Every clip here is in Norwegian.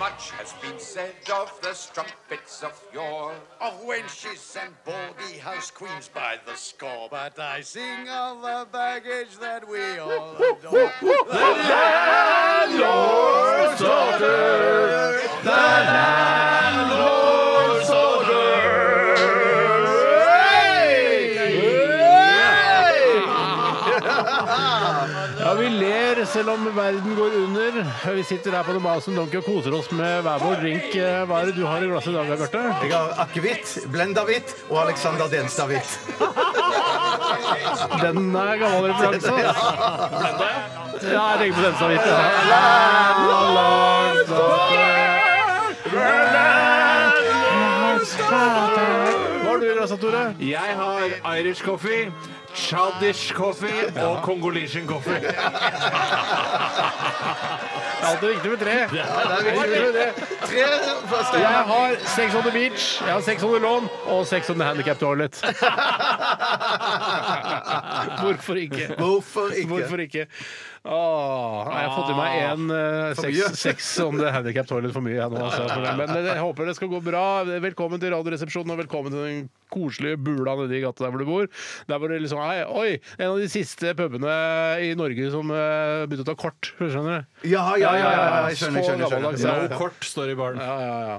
Much has been said of the strumpets of yore, of wenches and baldy house queens by the score. But I sing of the baggage that we all adore. Ja, vi ler selv om verden går under. Vi sitter her på The Mouse and Donkey og koser oss med hver vår drink. Eh, Hva er det du har i glasset i dag, Bjarte? Jeg har akevitt, blendavitt og Alexander Denstavitt. Den er gammel referanse. Blenda, ja? Ja, jeg tenker på den så vidt. ja. Hva har du i glasset, Tore? Jeg har Irish coffee, Chadish coffee og Congolesian coffee. Det er alltid viktig med tre. Alltid med tre. Tre første Jeg har Sex on the Beach, jeg har Sex on the Lawn og Sex on the Handicap Toilet. Hvorfor ikke? Hvorfor ikke? Hvorfor ikke? Åh, nei, jeg har fått i meg en eh, mye. sex, sex on the Handicap Toilet for mye. Jeg nå, altså, for det. Men eh, jeg håper det skal gå bra. Velkommen til Radioresepsjonen, og velkommen til den koselige bula nedi gata der hvor du bor. Der hvor det liksom er, Oi! En av de siste pubene i Norge som eh, begynte å ta kort, skjønner du? Ja, ja, ja, ja, ja, jeg skjønner, jeg skjønner, jeg skjønner. Så gammeldags er det. kort står i baren. Ja, ja, ja.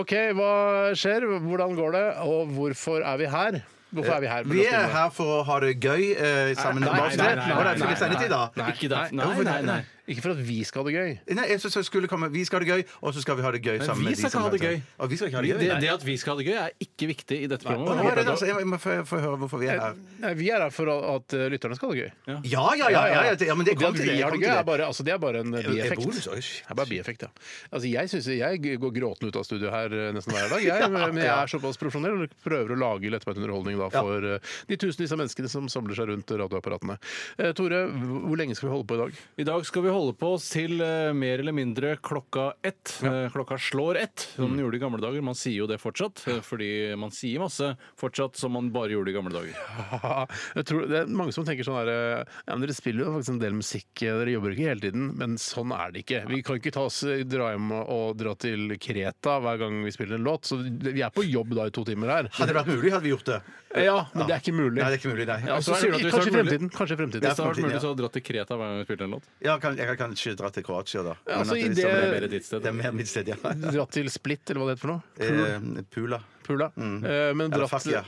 OK, hva skjer? Hvordan går det? Og hvorfor er vi her? Hvorfor er vi her? Vi er her for å ha det gøy eh, sammen med Nei, nei, Mouse. nei, nei, Og det er ikke nei, nei, sendetid, da. Nei, Ikke der. nei, Nei, nei, nei. Ikke for at vi skal ha det gøy. Nei, jeg synes jeg skulle komme Vi skal ha det gøy, og så skal vi ha det gøy sammen vi med de skal som ikke ha det hører til. gøy. Og vi skal ikke ha det Det, gøy. det at vi skal ha det gøy, er ikke viktig i dette Å, nå er det programmet. det, altså. Jeg må få få høre hvorfor vi er her. Nei, vi er her for at eh, lytterne skal ha det gøy. Ja, ja, ja. ja, ja, det- ja men det Og det kom at til vi det. har kom det gøy, til er bare, altså, det er bare en bieffekt. bonus, oi, Det shit. er bare bieffekt, ja. Altså, jeg, synes, jeg går gråtende ut av studio her eh, nesten hver dag, jeg, men jeg er såpass profesjonell og prøver å lage lettbeint underholdning da, for eh, de tusenvis av menneskene som samler seg rundt radioapparatene. Eh, Tore, hvor hvor lenge skal vi holde på i dag? I dag skal vi holde på oss til eh, mer eller mindre klokka ett. Eh, klokka slår ett, som den gjorde i gamle dager. Man sier jo det fortsatt, eh, fordi man sier masse fortsatt som man bare gjorde i gamle dager. Jeg tror, det er mange som tenker sånn her eh, ja, men Dere spiller jo faktisk en del musikk, eh, dere jobber ikke hele tiden. Men sånn er det ikke. Vi kan ikke ta oss, eh, dra hjem og- og dra til Kreta hver gang vi spiller en låt. Så vi er på jobb da i to timer her. det. Hadde det vært mulig, hadde vi gjort det. Ja, men det er ikke mulig. Nei, det er ikke mulig, nei. Ja, så Så er sier du det, at hvis kanskje i det er mulig- fremtiden. Kanskje i fremtiden. Hvis det hadde vært mulig, ja. så hadde du dratt til Kreta hver gang vi spilte en låt. Ja, kan, jeg kan kanskje dra til Kroatia, da. Men at altså, i liksom- det- Mer ditt sted. Det er mer mitt sted, ja. Dratt til Split, eller hva det heter for noe? Eh, Pula. Pula. Eh, Men Eller dratt, Fakia.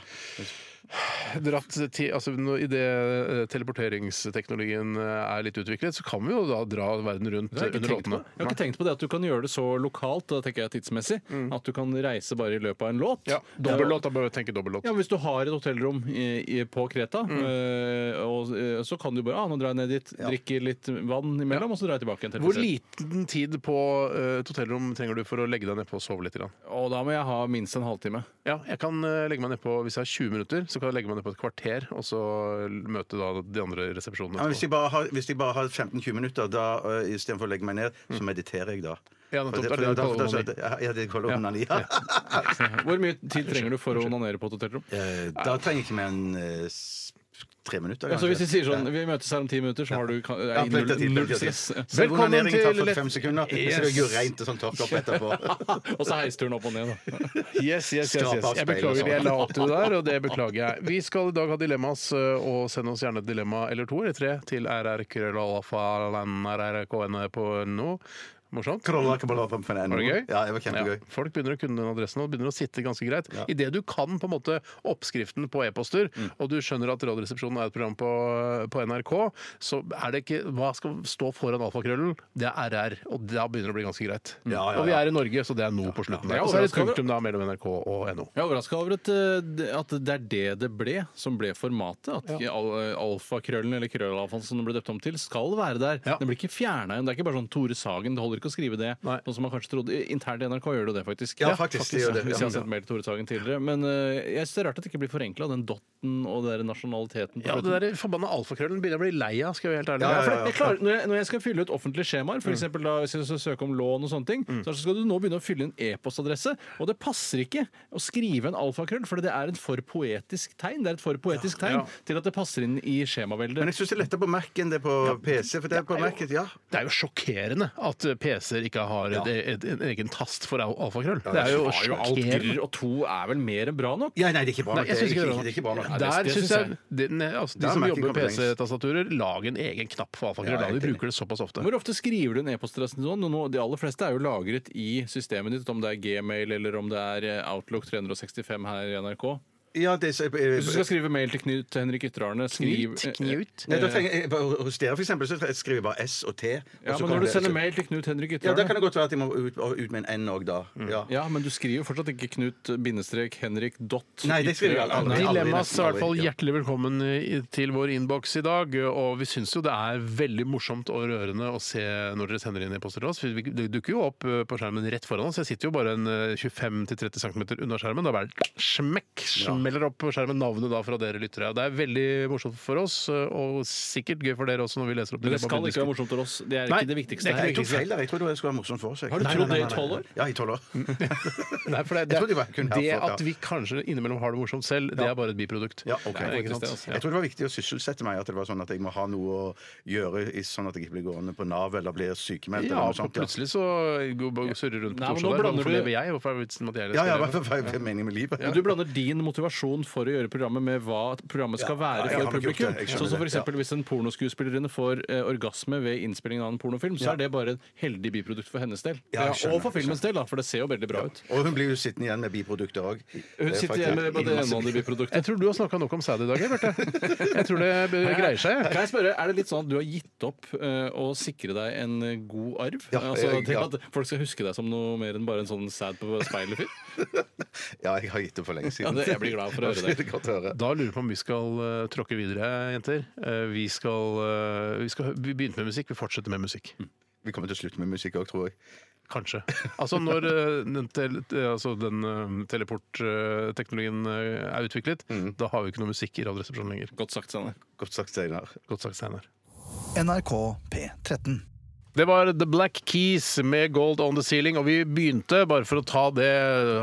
dratt til altså, nå- I det eh, teleporteringsteknologien eh, er litt utviklet, så kan vi jo da dra verden rundt Det har eh, jeg, ikke under tenkt på. låtene. jeg har ikke tenkt på det at du kan gjøre det så lokalt, da tenker jeg tidsmessig, at du kan reise bare i løpet av en låt. Ja, dobbellåt. Da bør vi tenke dobbellåt. Ja, Hvis du har et hotellrom i, i, på Kreta, Mm. eh, og, eh, så kan du bare ah, nå drar jeg ned dit, drikker litt vann imellom, og så drar jeg tilbake igjen. til Hvor Tbilisi. liten tid på eh, et hotellrom trenger du for å legge deg nedpå og sove litt? Grann? Og da må jeg ha minst en halvtime. Ja, jeg kan eh, legge meg nedpå hvis jeg har 20 minutter, så kan jeg legge meg nedpå et kvarter, og så møte da de andre resepsjonene. Ja, men hvis, etterpå. jeg bare har, hvis jeg bare har 15-20 minutter, da øh, istedenfor å legge meg ned, så mediterer jeg da. Mm. Ja, nettopp. For Er det for det du da- kaller da- da- Ja, det kaller jeg onani. Ja. Hvor mye tid trenger du for å onanere på et hotellrom? Eh, Da trenger jeg ikke mer enn eh, s- tre minutter. Ja, så hvis kanskje. vi sier sånn Vi møtes her om ti minutter, så har du kan- Ja, er i platt av tid, null, null platt av tid. stress. Selv Velkommen onanering tar til 45 sekunder, og så er det jo rent og sånn tørke opp etterpå. Og så heisturen opp og ned, da. Yes, yes, yes, Skrape yes. av Jeg speilet og beklager sånn. det jeg la opp til der, og det beklager jeg. Vi skal i dag ha dilemmas, eh, og send oss gjerne et dilemma eller to eller tre til rrkrøllalfa.nrrkn.no. Morsomt. Krolla kan bare la på med en Var det gøy? Ja, det var kjempegøy. Ja, folk begynner å kunne den adressen og begynner å sitte ganske greit. I Idet du kan på en måte oppskriften på e-poster, og du skjønner at Radioresepsjonen er et program på, på NRK, så er det ikke Hva skal stå foran alfakrøllen? Det er RR, og da begynner det å bli ganske greit. Ja, ja, Og vi ja. er i Norge, så det er no på slutten. Ja, der. ja, Og så er det et overraskende. punktum da mellom NRK og NO. Jeg er overraska over at, eh, at det er det det ble, som ble formatet. At ikke al alfakrøllen, eller krøllalfaen som det ble døpt om til, skal være der. Ja. Den blir ikke fjerna igjen. Det er ikke bare sånn Tore Sagen, det holder ikke å skrive det, Nei. sånn som man kanskje trodde. Internt i NRK gjør det jo det, faktisk. Ja, faktisk, de gjør det. Hvis jeg har Ja. sett mail til Tore Sagen tidligere. Men eh, jeg syns det er rart at det ikke blir forenkla, den dotten og den der nasjonaliteten. på Ja, slutten. det der forbanna alfakrøllen begynner jeg å bli lei av, skal jeg være helt ærlig. Ja, Mm. for Ja, jeg- jeg klarer, når, jeg, når jeg skal fylle ut offentlige skjemaer, f.eks. hvis jeg skal søke om lån og sånne ting, så skal du nå begynne å fylle inn e-postadresse. Og det passer ikke å skrive en alfakrøll, for det er et for poetisk tegn. Det er et for poetisk tegn Ja. til at det passer inn i Men skjemaveldet. jeg syns det er lettere på Mac enn det på PC. For det er på Mac, ja. Det er jo sjokkerende at PC-er ikke har et, et, en egen tast for al- alfakrøll. Det er jo, sjokkerende. alt dyrr, og to er vel mer enn bra nok? ja. Nei, det er ikke bra Nei, nok. jeg Det er synes ikke det er ikke- det er ikke bra nok. Ja, det- Der det syns synes jeg, jeg. de, ne, altså, de Der som merker jobber med kompetanse. PC-tastaturer, lag en egen knapp for alfakrøll. Ja, jeg da er de helt bruker det såpass ofte. Hvor ofte skriver du en e-postadresse til noen? Nå- De aller fleste er jo lagret i systemet ditt, om det er Gmail eller om det er eh, Outlook 365 her i NRK. Ja, det, er- eh, Hvis du skal skrive mail til Knut til Henrik Ytterarne, skriv Knut, Knut. eh, Nei, da trenger jeg, bare Hos dere for eksempel, så skriver jeg bare S og T. og Ja, så men kommer når du det- sender mail til Knut Henrik Ja, Da Ytterarne kan det godt være at jeg må ut, ut med en N òg, da. Ja. Ja, men du skriver jo fortsatt ikke Knut bindestrek Henrik dott. Nei, det skriver jeg aldri. Nei. aldri, Dilemmas nesten er i hvert fall aldri, ja. hjertelig velkommen i- til vår innboks i dag. Og vi syns jo det er veldig morsomt og rørende å se når dere sender inn e-poster til oss. for vi- Det dukker jo opp eh, på skjermen rett foran oss. Jeg sitter jo bare en eh, 25-30 cm unna skjermen. Da bare smekk, smeller opp på skjermen navnet da fra dere lyttere. Det er veldig morsomt for oss, eh, og sikkert gøy for dere også når vi leser opp Men det dilemma- skal ikke være morsomt for oss. Det er Nei, ikke det viktigste. det er Jeg her. tok feil der. Jeg trodde det skulle være morsomt for seg. Har du Nei, trodd nei, det i nei, nei. 12 år? Ja, i tolv år. Nei, for det, Jeg det, trodde vi bare kunne ha det fått, ja. at vi kanskje innimellom har det morsomt selv, det er bare et biprodukt. Ja, ok. Nei, det er ikke sant. altså. Jeg tror det var viktig å sysselsette meg, at det var sånn at jeg må ha noe å gjøre, i- sånn at jeg ikke blir gående på Nav eller blir sykemeldt. eller Ja, noe for sånt, ja. plutselig så går- bare surrer rundt Nei, på men Oslo nå der. blander Hvorfor du- lever jeg? Hvorfor er det vitsen med at jeg Ja, ja, hva skal leve? hva- hva er meningen med livet? Men Du blander din motivasjon for å gjøre programmet med hva programmet skal Ja, være ja, jeg for har nok gjort publikum. det. Jeg skjønner Sånn som for det, ja. eksempel Hvis en pornoskuespillerinne får eh, orgasme ved innspillingen av en pornofilm, så Ja. er det bare et heldig biprodukt for hennes del. Ja, jeg Ja, skjønner, og for filmens del, da, for det ser jo veldig bra ut. Og hun blir jo sittende igjen med biprodukter òg. Hun sitter igjen med både det ene og det biproduktet. Jeg tror du har snakka nok om sæd i dag, jeg, Bjarte. Jeg tror det be- greier seg. jeg. Eh, Kan jeg spørre, Er det litt sånn at du har gitt opp eh, å sikre deg en eh, god arv? Ja, altså, eh, jeg- til ja. At folk skal huske deg som noe mer enn bare en sånn sæd på speilet-fyr? Ja, jeg har gitt det for lenge Ja, siden. det- jeg blir glad for å høre det. er godt å høre. Da lurer jeg på om vi skal eh, tråkke videre, jenter. Eh, vi skal, eh, vi skal hø- Vi begynte med musikk, vi fortsetter med musikk. Vi kommer til å slutte med musikk òg, tror jeg. Kanskje. Altså når eh, den, tel- eh, altså, den teleportteknologien eh, er utviklet, da har vi ikke noe musikk i Radioresepsjonen lenger. Godt sagt, Steinar. Godt sagt, Steinar. Godt sagt, Steinar. NRK P13. Det var The Black Keys med Gold On The Ceiling, og vi begynte, bare for å ta det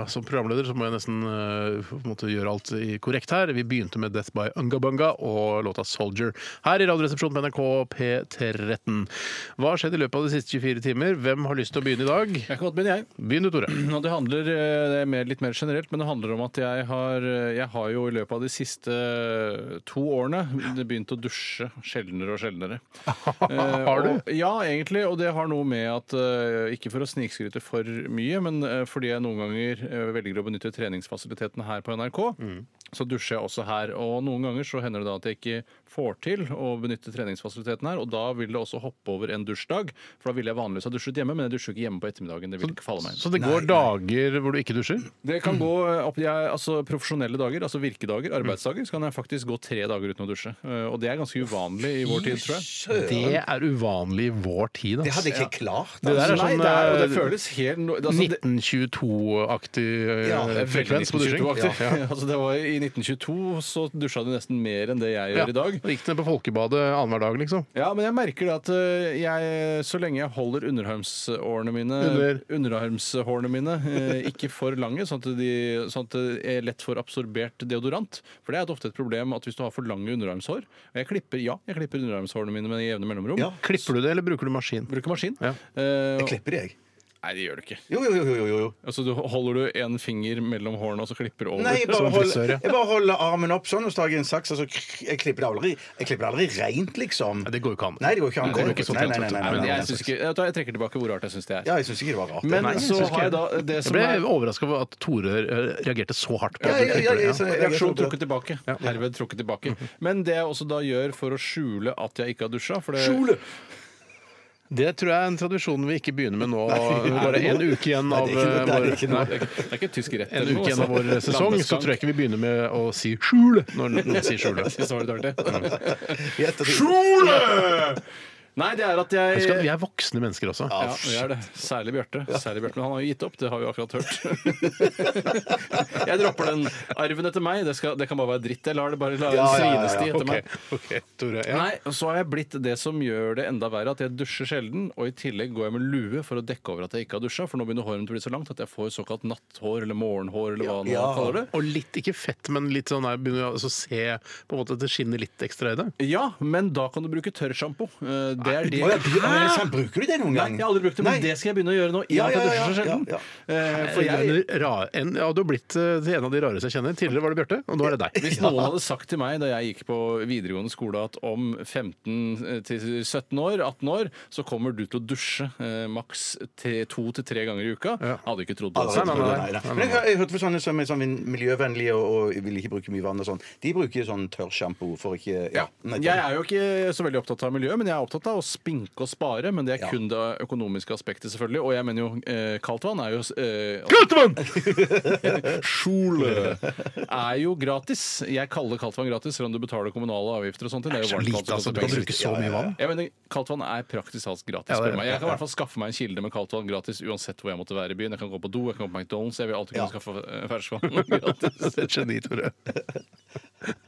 som programleder, så må jeg nesten eh, på en måte gjøre alt i- korrekt her. Vi begynte med Death by Ungabunga og låta Soldier her i Radioresepsjonen på NRK P13. Hva har skjedd i løpet av de siste 24 timer? Hvem har lyst til å begynne i dag? Jeg kan godt begynne, jeg. Begynn du, Tore. Og det handler eh, det er mer, litt mer generelt, men det handler om at jeg har, eh, jeg har jo i løpet av de siste eh, to årene begynt å dusje sjeldnere og sjeldnere. Eh, Har du? Og, ja, egentlig. Og det har noe med at eh, Ikke for å snikskryte for mye, men eh, fordi jeg noen ganger eh, velger å benytte treningsfasilitetene her på NRK. Mm. Så dusjer jeg også her, og noen ganger så hender det da at jeg ikke får til å benytte treningsfasiliteten her, og da vil det også hoppe over en dusjdag. For da ville jeg vanligvis ha dusjet hjemme, men jeg dusjer ikke hjemme på ettermiddagen. Det vil ikke falle meg inn. Så det går dager hvor du ikke dusjer? Det kan gå eh, opp, jeg, altså Profesjonelle dager, altså virkedager, arbeidsdager, så kan jeg faktisk gå tre dager uten å dusje. Eh, Og det er ganske uvanlig i vår tid, tror jeg. Det er uvanlig i vår tid, Det hadde altså. jeg ikke klart. Det der er Nei, sånn det er, og det eh, føles helt no- altså, det- 1922-aktig eh, Ja, det er veldig frekvens på dusjing. 1922-aktig. Altså, det var I 1922 så dusja du nesten mer enn det jeg gjør i dag. Da gikk det ned på Folkebadet annenhver dag, liksom. Ja, men jeg merker det at eh, jeg, så lenge jeg holder underarmsårene mine Under- Underarmshårene mine eh, ikke for lange, sånn at de sånn at det er lett for absorbert deodorant. For det er et ofte et problem at hvis du har for lange underarmshår og jeg klipper, Ja, jeg klipper underarmshårene mine med jevne mellomrom. Ja. Klipper du det, eller bruker du maskin? Bruker maskin. Ja. Eh, Jeg klipper det, jeg. nei, det gjør du ikke. Jo, jo, jo. jo, jo, jo. Altså, du, holder du en finger mellom hårene og så klipper du over? Nei, jeg Som bare, frisør, holder, ja. jeg bare holder armen opp sånn, og så tar jeg en saks, og så kr- jeg klipper det aldri, jeg klipper det aldri rent, liksom. Nei, det går jo ikke an. Nei, det går ikke an. Det går ikke sånn Nei, nei, nei, nei, til at- nei, men nei, nei, jeg, synes ikke, jeg, tar- jeg trekker tilbake hvor rart jeg syns det er. Ja, jeg syns ikke det var rart. Men Nei, jeg så synes ikke har jeg det. da det Jeg som ble er overraska over at Tore eh, reagerte så hardt på Ja, ja, ja, at du klipper det. ja, Ja. så- jeg- sånn- Reaksjon jeg- trukket tilbake. Herved trukket tilbake. Mhm. Men det jeg også da gjør for å skjule at jeg ikke har dusja for det- Kjole! Det tror jeg er en tradisjon vi ikke begynner med nå. Bare en uke igjen Nei, av det er ikke noe- eh, det er vår ikke Nei, noe. det er ikke- det er ikke tysk rett. en eller noe, uke igjen av vår eh, altså. sesong, så tror jeg ikke vi begynner med å si 'skjul' Mm. når noen sier 'skjule'. Landeskrank. Det var litt artig. Jeg heter- Skjule! Nei, det er at jeg Husk at vi er voksne mennesker også. ja, vi er det. Særlig Bjarte. Særlig Bjarte. Men han har jo gitt opp, det har vi jo akkurat hørt. jeg dropper den arven etter meg. Det, skal, det kan bare være dritt. Jeg lar det bare la Ja, ja, ja, ja. svinesti etter Ok, meg. ok, Tore. Ja. Nei, og så har jeg blitt det som gjør det enda verre, at jeg dusjer sjelden, og i tillegg går jeg med lue for å dekke over at jeg ikke har dusja, for nå begynner håret mitt å bli så langt at jeg får såkalt natthår eller morgenhår eller hva man kaller det. Og litt, ikke fett, men litt sånn der, begynner å altså, se på en måte at det skinner litt ekstra i det. Ja, men da kan du bruke tørrsjampo. Eh, Det er det Å, ja, du- ja, sant, Bruker du det noen Nei, gang? jeg har aldri brukt det, men Nei. det skal jeg begynne å gjøre nå. I Ja, og med at jeg ja, dusjer ja, så sjelden. ja, Eh, For For jeg, jeg, ra, en, ja, du har blitt eh, til en av de rareste jeg kjenner. Tidligere var det Bjarte, og nå er det deg. Hvis noen hadde sagt til meg da jeg gikk på videregående skole at om 15-17 år, 18 år, så kommer du til å dusje eh, maks tre- to til tre ganger i uka, jeg hadde ikke trodd på Aldri det. brukt nei, nei, det, nei, nei. Men jeg, jeg hørte for sånne som er sånn miljøvennlige og, og vil ikke bruke mye vann og sånn. De bruker sånn tørrsjampo for ikke ja, nei, Jeg er jo ikke så veldig opptatt av miljø, men jeg er opptatt av å spinke og spare. Men det er kun det økonomiske aspektet, selvfølgelig. Og jeg mener jo eh, kaldt vann er jo eh, Skjole er jo gratis. Jeg kaller kaldt vann gratis, selv om du betaler kommunale avgifter og sånt. Det er jo Så varmt vann lite, som altså. koster Du kan penger. bruke så mye vann. Jeg mener, Kaldt vann er praktisk talt gratis. Ja, det er for meg. det. Jeg kan i hvert fall skaffe meg en kilde med kaldt vann gratis uansett hvor jeg måtte være i byen. Jeg kan gå på do, jeg kan gå på McDonald's, jeg vil alltid kunne skaffe eh, ferskvann gratis. Det er et geni, Tore.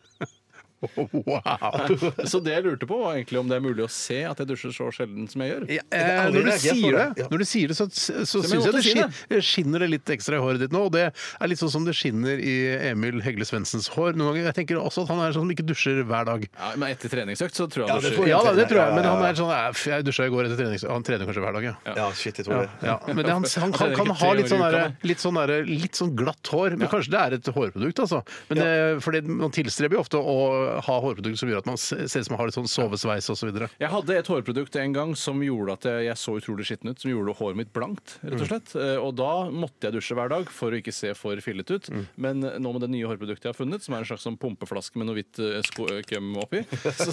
Wow! Så det jeg lurte på, var egentlig om det er mulig å se at jeg dusjer så sjelden som jeg gjør. Ja, eh, aldri når, du reagert på sier det, det. Ja. når du sier det, så, så jeg syns jeg måtte det si skin- skinner det litt ekstra i håret ditt nå. Og det er litt sånn som det skinner i Emil Hegle Svendsens hår noen ganger. Jeg tenker også at han er sånn som ikke dusjer hver dag. Ja, men etter treningsøkt så tror jeg han det dusjer. tror jeg. Ja da, det tror Ja, jeg, ja, men ja. han er sånn "Æ, f- Jeg dusja i går etter trening. så Han trener kanskje hver dag, ja. Ja, shit, jeg tror Ja, det. ja. Men det, han, han kan, kan ha litt sånn, der, litt, sånn der, litt sånn glatt hår. Men kanskje det er et hårprodukt, altså. Men det, fordi man tilstreber jo ofte å ha hårprodukt som gjør at man se- ser ut som man har litt sånn sovesveis osv. Så Jeg hadde et hårprodukt en gang som gjorde at jeg, jeg så utrolig skitten ut. Som gjorde håret mitt blankt, rett og slett. Eh, Og da måtte jeg dusje hver dag for å ikke se for fillet ut. Men nå med det nye hårproduktet jeg har funnet, som er en slags sånn pumpeflaske med noe hvitt eh, sko- eh, krem oppi så, så,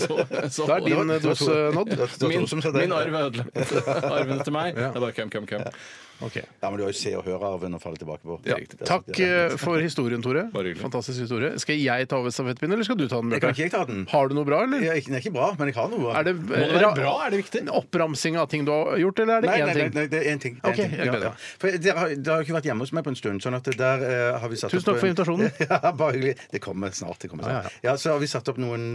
så, da er det var- din dose nådd. Det var Tore Min, som sa det. min arv er ødelagt. Arven etter meg. Det er bare kem, kem, kem. Ok. Ja, men du har jo se og høre-arven å falle tilbake på. Ja. Takk eh, for historien, Tore. Bare hyggelig. Fantastisk historie. Skal jeg ta over stafettpinnen, eller skal du ta den? Jeg kan ikke jeg ta den. Har du noe bra, eller? Ja, ikke- Den er ikke bra, men jeg har noe. Er det, være bra? Er det viktig? En Oppramsing av ting du har gjort, eller er det Nei, én nei, nei, ting? nei, det er én ting. Det er Ok, en ting. jeg gleder meg. For dere har, dere har jo ikke vært hjemme hos meg på en stund. Sånn at det der eh, har vi satt Tusen opp takk for en- invitasjonen. ja, bare hyggelig. Det kommer snart. Det kommer Ja, ja, snart. Ja, Så har vi satt opp noen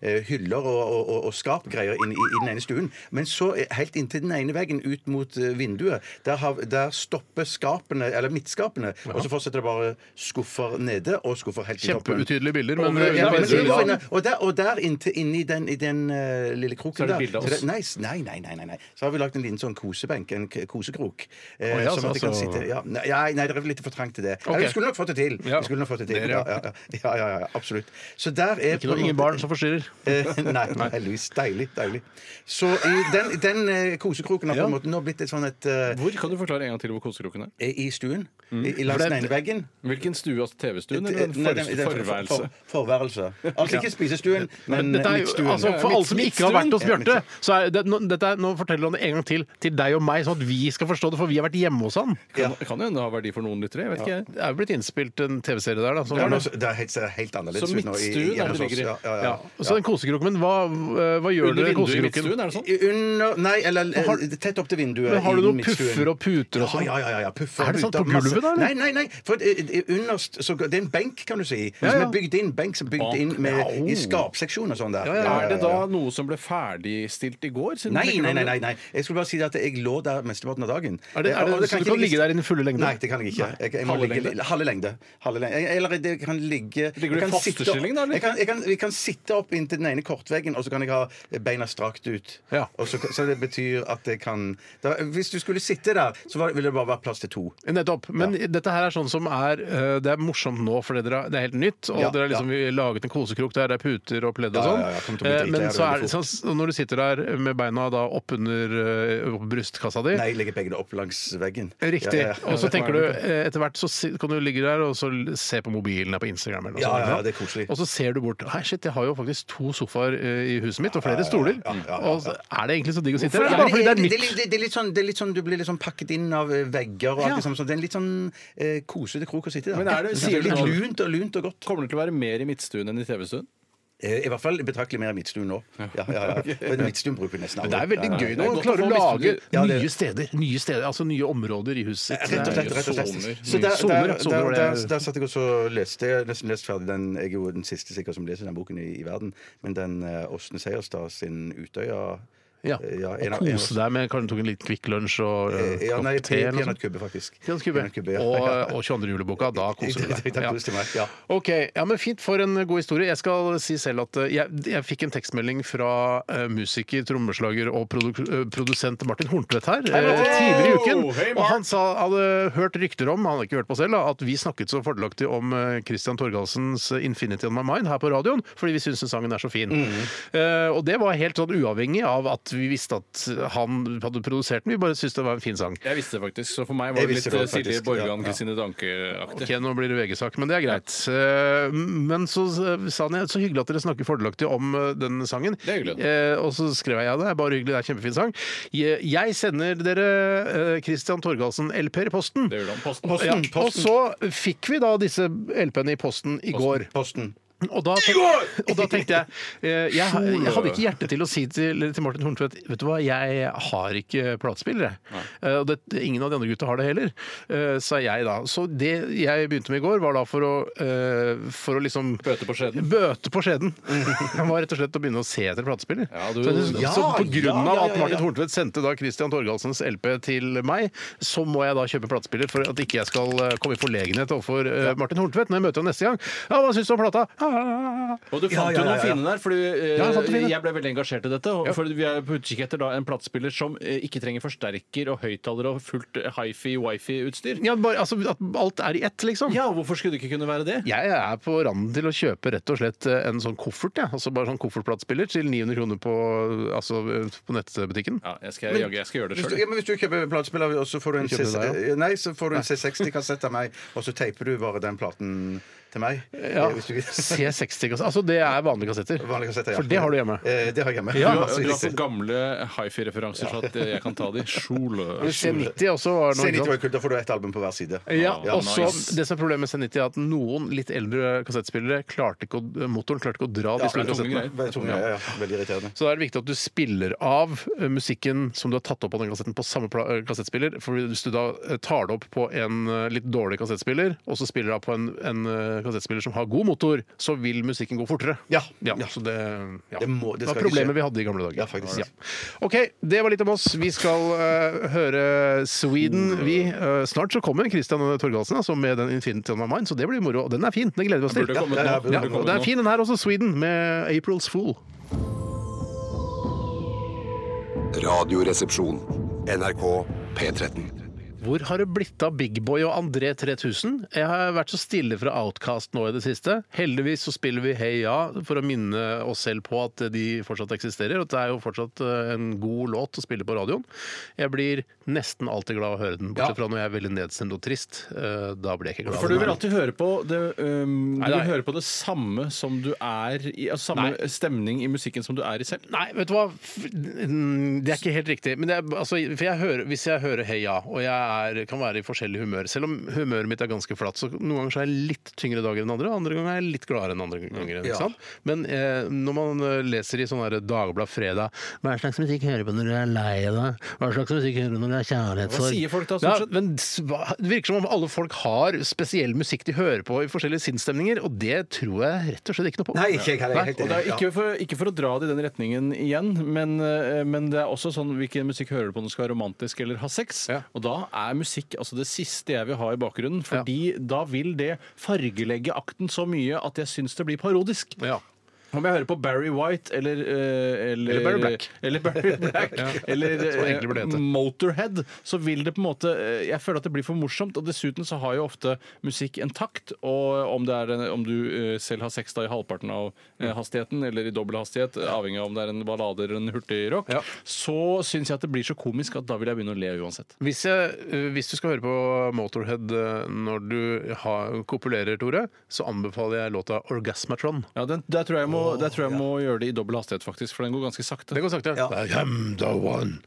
eh, hyller og, og, og, og skapgreier inn i, i den ene stuen. Men så eh, helt inntil den ene veggen, ut mot eh, vinduet, der, har, der stopper skapene, eller midtskapene, og så fortsetter det bare skuffer nede og skuffer helt i toppen. Kjempeutydelige bilder, men, Ja, men men, det var inne- og der, og der inntil, inni den, i den eh, lille kroken er det der bilde av så oss. Nei, s- nei, nei, nei, nei, nei. Så har vi lagd en liten sånn kosebenk, en k- kosekrok. eh, Å, ja, sånn så- at det kan så- sitte ja, nei, nei, det er litt for trangt til det. Ok. Eller vi skulle nok fått det til. Ja. Vi skulle nok fått det til. Dere, Ja, ja. ja, ja, ja, ja, ja, absolutt. Så der er Ikke noe, ingen barn som forstyrrer. Eh, nei, heldigvis. Deilig. deilig Så i den, den eh, kosekroken har på en måte nå blitt et sånn et eh, Hvor kan du forklare en gang til hvor kosekroken er? I stuen. I, i langs Mm. For det- den ene veggen. Hvilken stue? Altså TV-stuen Eh, eller nei, den- den den- for- forværelse? for- Forværelse. Altså ikke spisestuen, men Dette er jo, midtstuen. altså, for alle som ikke har vært hos Midtstuen. Bjarte, så er det, nå, dette er, nå forteller han det en gang til til deg og meg, sånn at vi skal forstå det, for vi har vært hjemme hos han. Ja. Kan kan jo hende ha verdi for noen lyttere. Jeg vet ikke, jeg. Det er jo blitt innspilt en TV-serie der, da. Som, Ja, men også- det er helt, ser helt annerledes Så ut nå. i- midtstuen er hjemme det hos oss. ligger i. Ja, ja, ja. altså- ja. Så den kosekroken, men hva, eh, hva gjør Under dere i vinduet i kosekroken? midtstuen, er det sånn? I- Under Nei, eller eh, tett opp til vinduet. Men har i du noen midtstuen. puffer og puter og sånn? Ja, ja, ja, ja. Puffer og Er det sånn puter, på masse- gulvet da, eller? Nei, nei, nei. For eh, eh, underst så, Det er en benk, kan du si. Som ja. er bygd inn. Benk som er bygd inn med, i skapseksjon og sånn der. Er det da noe som ble ferdigstilt i går? siden Nei, du nei, tenker nei, på nei, det? nei. Jeg skulle bare si at jeg lå der mesteparten av dagen. Er det- er det- Og så du ikke kan ligge der i den fulle lengden? Nei, det kan jeg ikke. Jeg, jeg må Halve ligge, lengde? Halve lengde. Halve lengde. Jeg- Eller det kan ligge Ligger du jeg i kan faste sitte opp- stilling da, eller? Jeg kan, jeg kan, vi kan sitte opp inntil den ene kortveggen, og så kan jeg ha beina strakt ut. Ja. Og så, så det betyr at jeg kan da, Hvis du skulle sitte der, så var, ville det bare vært plass til to. Nettopp. Men dette her er sånn som er eh, Det er morsomt nå, for det er, det er helt nytt. Og Ja, dere har liksom vi laget en kosekrok der det er puter og pledd og Ja, sånn. ja, ja, kommer til å bli Eh, drittlei Men av det så er veldig det sånn så når du sitter der med beina da oppunder brystkassa di Nei, jeg legger begge opp langs veggen. Riktig. Ja, ja, ja. Og så tenker du eh, etter hvert så si- kan du ligge der og så l- se på mobilen her på Instagram. Eller noe Ja, sånt, ja, ikke ja, det er sant? koselig. Og så ser du bort. Hei, shit, jeg har jo faktisk to sofaer eh, i huset mitt, og flere stoler. ja, ja, ja. Og så er det egentlig så digg å sitte Ja, her? men Bare fordi det er det, er nytt. litt- det, er litt sånn, det er litt sånn du blir litt sånn pakket inn av eh, vegger og alt Ja. det samme. sånn. Det er en litt sånn eh, kosete krok å sitte i. da. Men er det- Ja, sier du litt nå- lunt og lunt og godt. Kommer det til å være mer i midtstuen enn i TV-stuen? Eh, I hvert fall betraktelig mer i Midtstuen nå. Ja, ja, ja. Men Midtstuen bruker nesten Men alle. det er veldig Ja, ja. gøy det er når man godt klarer å å få lage misforstått. Ja, det- nye steder. Nye steder, Altså nye områder i huset eh, sitt. Rett og slett. rett og slett. Soner. Så der, Soner, der, soner der, var det der, jeg- der satt jeg også og leste. Jeg har nesten lest ferdig den. Jeg er jo den siste sikkert som leser den boken i, i verden. Men den eh, Åsne Seierstad sin Utøya Ja. eh, ja, en Og av- en av- kose deg med Kanskje tok en liten Kvikk Lunsj og eh, Eh, Ja, nei, kopp te eller noe sånt. peanøttkubbe, faktisk. Pianskubbe. ja. Og, og 22. juleboka. Da koser du deg. Da koser jeg meg, ja. Ok, ja, men Fint for en god historie. Jeg skal si selv at eh, jeg, jeg fikk en tekstmelding fra eh, musiker, trommeslager og produ eh, produsent Martin Horntvedt her eh, Martin! tidligere i uken. Hei, og Mark! han sa, hadde hørt rykter om, han hadde ikke hørt på selv, da, at vi snakket så fordelaktig om eh, Christian Torgalsens 'Infinity On My Mind' her på radioen, fordi vi syns den sangen er så fin. Mm. Eh, og det var helt sånn uavhengig av at vi visste at han hadde produsert den, vi bare syntes det var en fin sang. Jeg visste det faktisk, så for meg var Jeg det visste det litt eh, faktisk, Silje Borgan, ja, ja. Kristine Danke-aktig. Ok, nå blir det VG-sak, men det er greit. Eh, Men så s- sa han så hyggelig at dere snakker fordelaktig om eh, den sangen. Det er hyggelig. Eh, Og så skrev jeg ja, det er bare hyggelig, det er en kjempefin sang. Jeg jeg sender dere eh, Christian Torgalsen LP-er i posten. Det gjør han. Posten. Ja, og så fikk vi da disse LP-ene i posten i går. Posten. Og da, tenk, og da tenkte jeg, eh, jeg Jeg hadde ikke hjerte til å si til, til Martin Horntvedt Vet du hva, jeg har ikke platespillere. Eh, Og det, ingen av de andre gutta har det heller, eh, sa jeg da. Så det jeg begynte med i går, var da for å, eh, for å liksom Bøte på skjeden. Bøte på skjeden. Det var rett og slett å begynne å se etter platespiller. Ja, du- så, jeg- Ja, så på ja, grunn av ja, at ja, Martin ja. Horntvedt sendte da Christian Torgalsens LP til meg, så må jeg da kjøpe platespiller for at ikke jeg skal eh, komme i forlegenhet overfor eh, Martin Horntvedt når jeg møter ham neste gang. Ja, hva syns du om plata? Ah. Og du Ja, fant ja, jo ja, noen ja. fine der, fordi eh, Ja, jeg fant det fine. jeg ble veldig engasjert i dette. Og, for vi er på utkikk etter da, en platespiller som eh, ikke trenger forsterker og høyttalere og fullt eh, hifi, wifi-utstyr. Ja, bare, altså, at alt er i ett, liksom. Ja, hvorfor skulle det ikke kunne være det? Jeg er på randen til å kjøpe rett og slett en sånn koffert, ja. altså bare sånn koffertplatespiller til 900 kroner på, altså, på nettbutikken. Ja, jeg skal, jeg, jeg skal gjøre det Hvis du, sjøl. ja, men hvis du kjøper platespiller, og så får du en, Kjøper du C- deg, eh, nei, så får du en C60-kassett av meg, og så teiper du bare den platen til meg. Ja. Eh, hvis du- C60-kassetter. Altså, det er vanlige kassetter. Vanlige kassetter, ja. For det har du hjemme. Eh, det har jeg hjemme. Du har Masse du har riktig. så gamle hifi-referanser så at eh, jeg kan ta de. Sjole. C90 også var noe Se litt ikke sant? kult, da får du ett album på hver side. Ja, Ja, og så nice. Det som er problemet med C90, er at noen litt eldre kassettspillere klarte ikke å, motoren klarte ikke å dra de store tunge kassettene. greier. Veldig tungt, ja, ja. Veldig irriterende. Så da er det viktig at du spiller av eh, musikken som du har tatt opp på den kassetten, på samme pla- eh, kassettspiller. For hvis du da eh, tar det opp på en eh, litt dårlig kassettspiller, og så spiller du av på en, en eh, kassettspiller som har god motor, så vil musikken gå fortere. Ja. ja. Så det, ja. Det må- det var skal ikke skje. problemet vi hadde i gamle dager. Ja, faktisk. OK, det var litt om oss. Vi skal eh, høre Sweden, Mm. vi. Eh, snart så kommer Christian Torgalsen altså, med den Infinity On My Mind, så det blir moro. Og den er fin, den gleder vi oss til. Burde kommet ja, ja, nå. burde Ja, Burde og kommet det er nå. fin den her også, Sweden, med April's Fool. Radioresepsjon. NRK P13. Hvor har det blitt av Big Boy og André 3000? Jeg har vært så stille fra Outcast nå i det siste. Heldigvis så spiller vi Hey Ja for å minne oss selv på at de fortsatt eksisterer. Og det er jo fortsatt eh, en god låt å spille på radioen. Jeg blir nesten alltid glad av å høre den, bortsett fra når jeg er veldig nedstemt og trist. Eh, Da blir jeg ikke glad. For av du den vil her. alltid høre på det, um, Nei, du vil nei. høre på det samme som du er i, altså samme Nei. stemning i musikken som du er i selv. Nei, vet du hva? F- mm, Det er ikke helt riktig. Men det er, altså, for jeg hører, hvis jeg hører heia, og jeg er, kan være i forskjellig humør Selv om humøret mitt er ganske flatt, så noen ganger så er jeg litt tyngre dager enn andre. Andre ganger er jeg litt gladere enn andre ganger. Ikke sant? Men eh, når man eh, leser i sånne her Dagblad fredag Hva slags musikk hører du på når du er lei deg? Hva slags musikk hører du når du er kjærlighetssorg? Hva sier folk da, stort Ja, sett? men s- hva- det virker som om alle folk har spesiell musikk de hører på i forskjellige sinnsstemninger, og det tror jeg rett og slett ikke noe på. Nei, ikke jeg heller. Helt Og det er enig. ikke, for, ikke for å dra det i den retningen igjen, men, eh, men det er også sånn hvilken musikk hører du på når du skal være romantisk eller ha sex. Ja. Og da er musikk altså det siste jeg vil ha i bakgrunnen, fordi da vil det fargelegge akten så mye at jeg syns det blir parodisk. Ja. Om jeg hører på Barry White eller eh, Eller Eller, Barry Black. Eller, Barry Black, eller Som eh, egentlig burde hete. Motorhead, så vil det på en måte eh, Jeg føler at det blir for morsomt. Og dessuten så har jo ofte musikk en takt. Og om, det er en, om du eh, selv har sex da i halvparten av eh, hastigheten, eller i dobbel hastighet, eh, avhengig av om det er en ballade eller en hurtigrock, Ja. så syns jeg at det blir så komisk at da vil jeg begynne å le uansett. Hvis, jeg, eh, hvis du skal høre på Motorhead eh, når du har, kopulerer, Tore, så anbefaler jeg låta 'Orgasmatron'. Ja, den, der tror jeg jeg må, der tror jeg jeg må gjøre det i dobbel hastighet, faktisk, for den går ganske sakte. Det går sakte. Ja. I am the one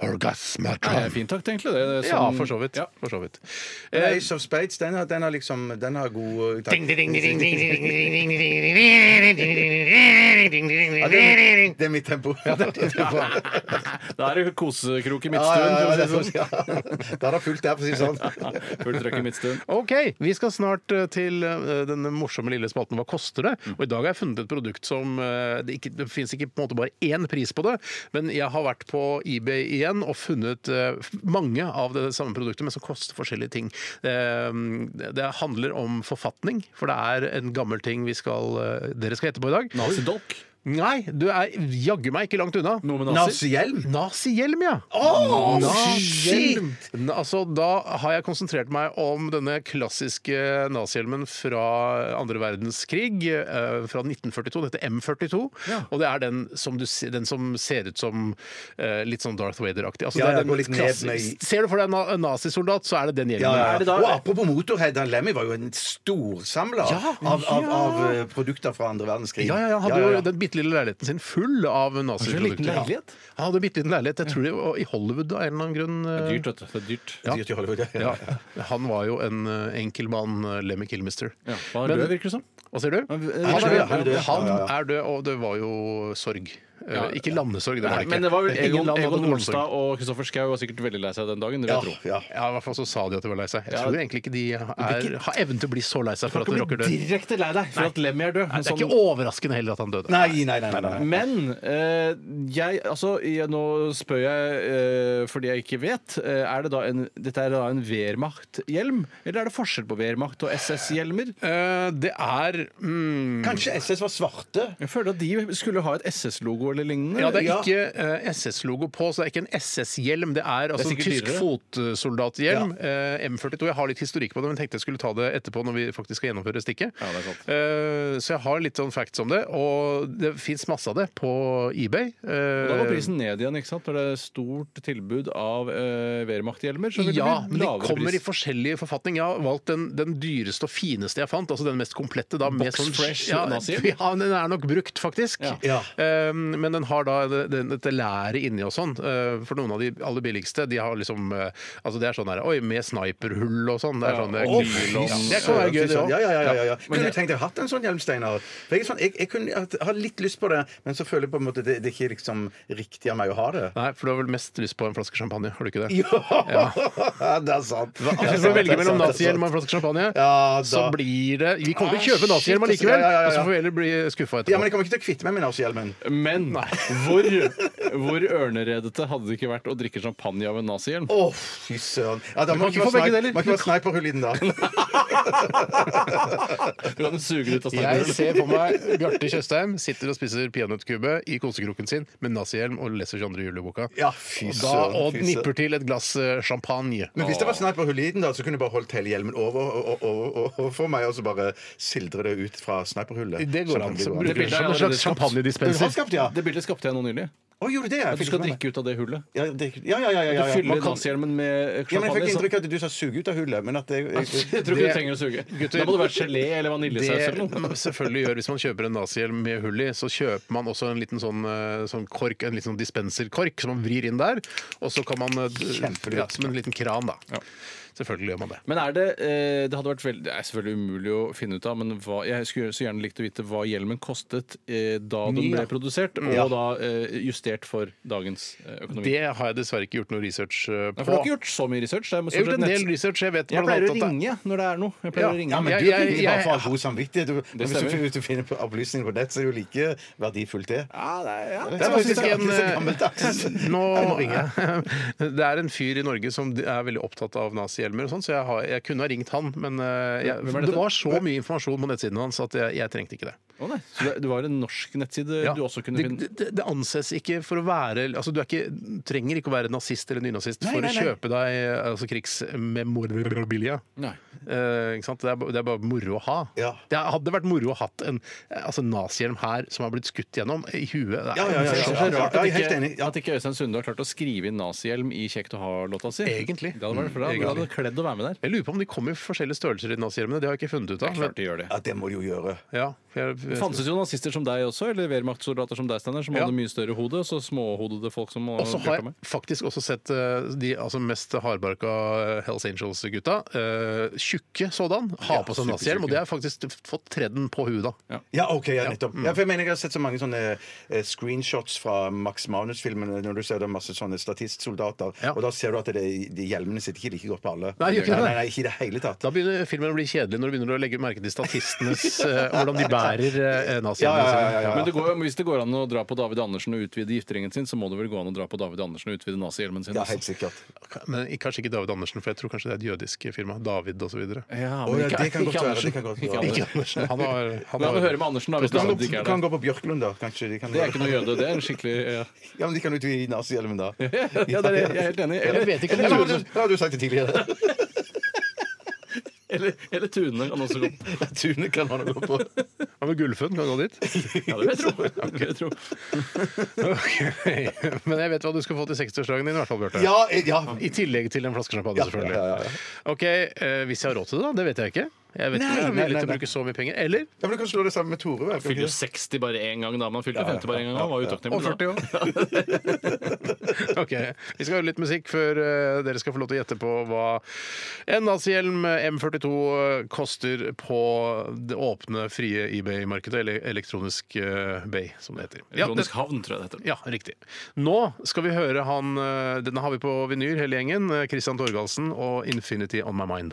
Orgasmatron. Det er fint takt, egentlig. Det, Ja, for så vidt. Ja. For så vidt. Eh, Ace of Spades, den har, den har liksom Den har god tak- Eh, Ja, det, er, mitt- det er mitt tempo. Ja, det er mitt tempo. Da er det kosekrok i Ja, midtstuen. ja, ja, for å si det det er sånn, ja. Da er det fullt der, for å si det sånn. sånn. Fullt trøkk i midtstuen. OK, vi skal snart eh, til eh, den morsomme lille spalten Hva koster det? Og i dag har jeg funnet et produkt som eh, Det, ikke, det fins ikke på en måte bare én pris på det, men jeg har vært på eBay igjen og funnet eh, mange av det samme produktet, men som koster forskjellige ting. Eh, Det det handler om forfatning, for det er en gammel ting vi skal, eh, dere skal gjette på i dag. Nazidolk. Nei, du er jaggu meg ikke langt unna. Noe med nazi. Nazihjelm? Nazihjelm, ja! Oh, Nazihjelm! Na- Altså, da har jeg konsentrert meg om denne klassiske nazihjelmen fra andre verdenskrig, eh, fra 1942. Det heter M42. Og det er den som, du, se- den som ser ut som eh, litt sånn Darth Vader-aktig. Altså, Ja, det ja, er den går litt ned klassiske- med- Ser du for deg en na- en nazisoldat, så er det den hjelmen. Ja, ja. Er det da- Og apropos Motorhead, han Lemmy var jo en storsamler Ja, av, av, ja. av eh, produkter fra andre verdenskrig. Ja, ja, ja. Han hadde Ja, ja, ja. jo den bitte lille leiligheten sin full av naziprodukter. liten leilighet? Ja. Han hadde en bitte liten leilighet, jeg tror det var i Hollywood av en eller annen grunn. Det eh, er dyrt, vet du. Det er dyrt. Ja. Dyrt i Hollywood, ja. Ja, han var jo en eh, enkel mann, eh, Lemmy Kilmister. Ja. Han er Men- død, virker det som. Hva sier du? Han Han er er død, død, han er død. han Ja, ja. er død og det var jo sorg. Eh, Ja. ikke landesorg, det var det ikke. Men det var vel Ingen Egon, land hadde Egon noen sorg. Olstad og Kristoffer Schau var sikkert veldig lei seg den dagen. vil Ja, Jeg tro. ja. Ja, i hvert fall så sa de at de var lei seg. Jeg Ja. tror egentlig ikke de er, har evnen til å bli så lei seg for at de rocker dør. Nei, direkte lei deg for at Lemmy er død. men Det er sånn- ikke overraskende heller at han døde. Nei, nei, nei. nei, nei. Men eh, jeg Altså, jeg, nå spør jeg eh, fordi jeg ikke vet. Eh, er det da en, dette er da en Wehrmacht-hjelm? Eller er det forskjell på Wehrmacht og SS-hjelmer? Eh, det er mm, Kanskje SS var svarte? Jeg føler at de skulle ha et SS-logo eller lignende. Ja, det er ikke eh, SS-logo på, så det er ikke en SS-hjelm. Det er altså en sikkert tysk dyrere. fotsoldathjelm. eh, M42. Jeg har litt historikk på det, men tenkte jeg skulle ta det etterpå når vi faktisk skal gjennomføre stikket. Ja, det er sant. Eh, så jeg har litt sånn facts om det, og det fins masse av det på eBay. Eh, Da går prisen ned igjen, ikke sant? Når det er stort tilbud av eh, Wehrmacht-hjelmer. Så vil Ja, det men bli de lavere kommer i pris. forskjellige forfatning. Jeg har valgt den, den dyreste og fineste jeg fant, altså den mest komplette. Da, med sånn Box fresh ja, nazi? ja, den er nok brukt, faktisk. Ja. Ja. Um, men den har da det- den- dette læret inni og sånn. Uh, for noen av de aller billigste, de har liksom uh, Altså det er sånn her Oi, med sniperhull og sånn. Det er Ja. sånn det er Å, glidelås. fy søren. Det kan være gøy, det Ja, òg. ja, ja, ja, ja. Kunne du tenkt deg å hatt en sånn hjelm, Steinar? For Jeg, er sånn, jeg, jeg kunne hatt- ha litt lyst på det, men så føler jeg på en måte det, det er ikke liksom riktig av meg å ha det. Nei, for du har vel mest lyst på en flaske champagne, har du ikke det? Jo, det er sant. Det er altså, Hvis du sant, får velge det er mellom sant, det er nazihjelm sant. og en flaske champagne, Ja, så da- blir det Vi kommer til å Ah, kjøpe nazihjelm shit, allikevel, ja, ja, ja, og så ja. får vi heller bli skuffa etterpå. Ja, men jeg kommer ikke til å kvitte meg med nazihjelmen. Men hvor, hvor ørneredete hadde det ikke vært å drikke champagne av en nazihjelm? Å, fy søren. Ja, da må ikke Du kan være ikke få begge snipe- deler. må ikke være sniperhull i den, da. Du kan suge det ut av Jeg steinen. ser på meg Bjarte Tjøstheim sitter og spiser peanøttkube i kosekroken sin med nazihjelm og leser 22. juli-boka. Ja, fy Og da- søren, og fy søren. nipper til et glass eh, champagne. Men hvis det var sniperhull i den, da, så kunne du bare holdt hele hjelmen over og- og- og- og- overfor meg, og så bare sildre det ut fra sniperhullet. Det går an. Sånn Så kan Det Det blir som en slags champagnedispenser. Selskap, ja. Det bildet skapte jeg nå nylig. Å, gjorde det? Jeg At du fikk skal ikke med meg. drikke ut av det hullet. Ja, det- ja, ja, ja, ja, Du ja. Man fyller kan- nazihjelmen Ja, med men jeg fikk champagne. så- inntrykk av at du sa 'suge ut av hullet', men at det Jeg jeg- tror ikke Det- du trenger å suge. Gutter, da må det være gelé eller vaniljesaus Det eller noe. man selvfølgelig gjør hvis man kjøper en nazihjelm med hull i, så kjøper man også en liten sånn, eh, sånn kork, en liten sånn dispenserkork som man vrir inn der, og så kan man eh, Kjempelurt. ja, Som en liten kran, da. Selvfølgelig gjør man det. Men er det eh, Det hadde vært veld... Det er selvfølgelig umulig å finne ut av, men hva, jeg skulle så gjerne likt å vite hva hjelmen kostet eh, da den ble produsert, og da eh, justert for dagens eh, økonomi. Det har jeg dessverre ikke gjort noe research eh, Nei, på. for du har ikke gjort så mye research? Det Jeg har er stort gjort sett en nett- del research. Jeg vet Jeg blant pleier å annet at- ringe når det er noe. Jeg pleier Ja. å ringe. ja, men Jeg- du jeg- ringer bare for å jeg- ha god samvittighet. Du, men hvis, du, stemmer. hvis du finner på opplysninger på nett, så er det jo like verdifullt, det. Ja, det er, ja. Det er faktisk faktisk en, ikke eh, så gammeldags. Nå Jeg må ringe. Det er en fyr i Norge som er veldig opptatt av nazihjelmer og sånn, så jeg, har, jeg kunne ha ringt han, men eh, jeg, Hvem er det dette? var så mye informasjon på nettsiden hans at jeg, jeg trengte ikke det. Å, nei. Så det, det var en norsk nettside Ja. du også kunne det, finne? det, det anses ikke for å være altså Du er ikke, trenger ikke å være nazist eller nynazist Nei, for nei, nei. å kjøpe deg eh, altså, krigsmemorabilia. Nei. Eh, ikke sant? Det, er, ba- det er bare moro å ha. Ja. Det hadde vært moro å hatt en eh, altså, nazihjelm her som har blitt skutt gjennom i huet. Det er- Ja, ja, ja, Det ja, er ja, så rart ja, at jeg er helt ikke, enig. Ja. at ikke Øystein Sunde har klart å skrive inn nazihjelm i Kjekt å ha-låta si. Egentlig. Det hadde vært bra. Det hadde kledd å være med der. Jeg lurer på om de kommer i forskjellige størrelser i nazihjelmene. Det har jeg ikke funnet ut av. Klart de gjør det. Ja, det må de jo gjøre. Ja, jeg, jeg, Det fantes jo nazister som deg også, eller Wehrmacht-soldater som deg, Steinar, som Ja. hadde mye større hode, så småhodede folk som og så har brukte jeg meg. faktisk også sett eh, de altså mest hardbarka eh, Hells Angels-gutta, eh, tjukke sådan, ha på seg nazihjelm. Og det har jeg faktisk fått tredd på huda. Ja, ok, ja, nettopp. mm. Ja, for jeg mener jeg har sett så mange sånne eh, screenshots fra Max Manus-filmene når du ser det er masse sånne statistsoldater, Ja. og da ser du at det, de hjelmene sitter ikke like godt på alle. Nei, gjør ikke det. Nei, nei, ikke i det hele tatt. Da begynner filmen å bli kjedelig når du begynner å legge merke til statistenes eh, Hvordan de bærer eh, Ja, nazihjelmene ja, sine. ja, ja, ja. Men det går, jo- hvis det går an å dra på David Andersen og utvide gifteringen sin, så må det vel gå an å dra på David Andersen og utvide nazihjelmen sin. Ja, også. helt sikkert. Men kanskje ikke David Andersen, for jeg tror kanskje det er et jødisk firma. David osv. Ja, Å, men ja, ikke, det kan ikke godt være, Andersen. det kan godt Ikke være. Andersen. Andersen. Han har, han Men har- han hører med Andersen, da, hvis det er Kan sånn at gå, det ikke er kan det. gå på Bjørklund, da. Kanskje de kan Det er ikke noe jøde, det er en skikkelig ja. Ja, men de kan jo ikke i nazihjelmen, da. Ja, det er, jeg er helt enig. Eller, vet ikke om Eller, ja, det er men du- ja, du har sagt det tidligere. eller, eller Tune kan også gå. Tune kan han gå på. Hva med Gullfønn? Kan han gå dit? Ja, det vil jeg tro. Det vil jeg tro. Ok. Men jeg vet hva du skal få til 60-årsdagen din, i hvert fall, Bjarte. Ja, eh, ja. I tillegg til en flaske champagne, selvfølgelig. ja, ja, ja. Ok, eh, Hvis jeg har råd til det, da. Det vet jeg ikke. Jeg vet Nei, ikke om jeg er nei, nei, villig til å nei. bruke så mye penger. Eller Ja, men du kan slå det sammen med Tore. vel? Fyller jo 60 bare én gang, da. Man fylte 50 bare én gang. da. Var jo Og 40 utakknemlig. år. ok, Vi skal høre litt musikk før eh, dere skal få lov til å gjette på hva en nazihjelm M42 eh, koster på det åpne, frie eBay-markedet, eller elektronisk eh, Bay, som det heter. Ja, det, Elektronisk havn, tror jeg det heter. ja, riktig. Nå skal vi høre han eh, Denne har vi på vinyl, hele gjengen. eh, Christian Torgalsen og 'Infinity On My Mind'.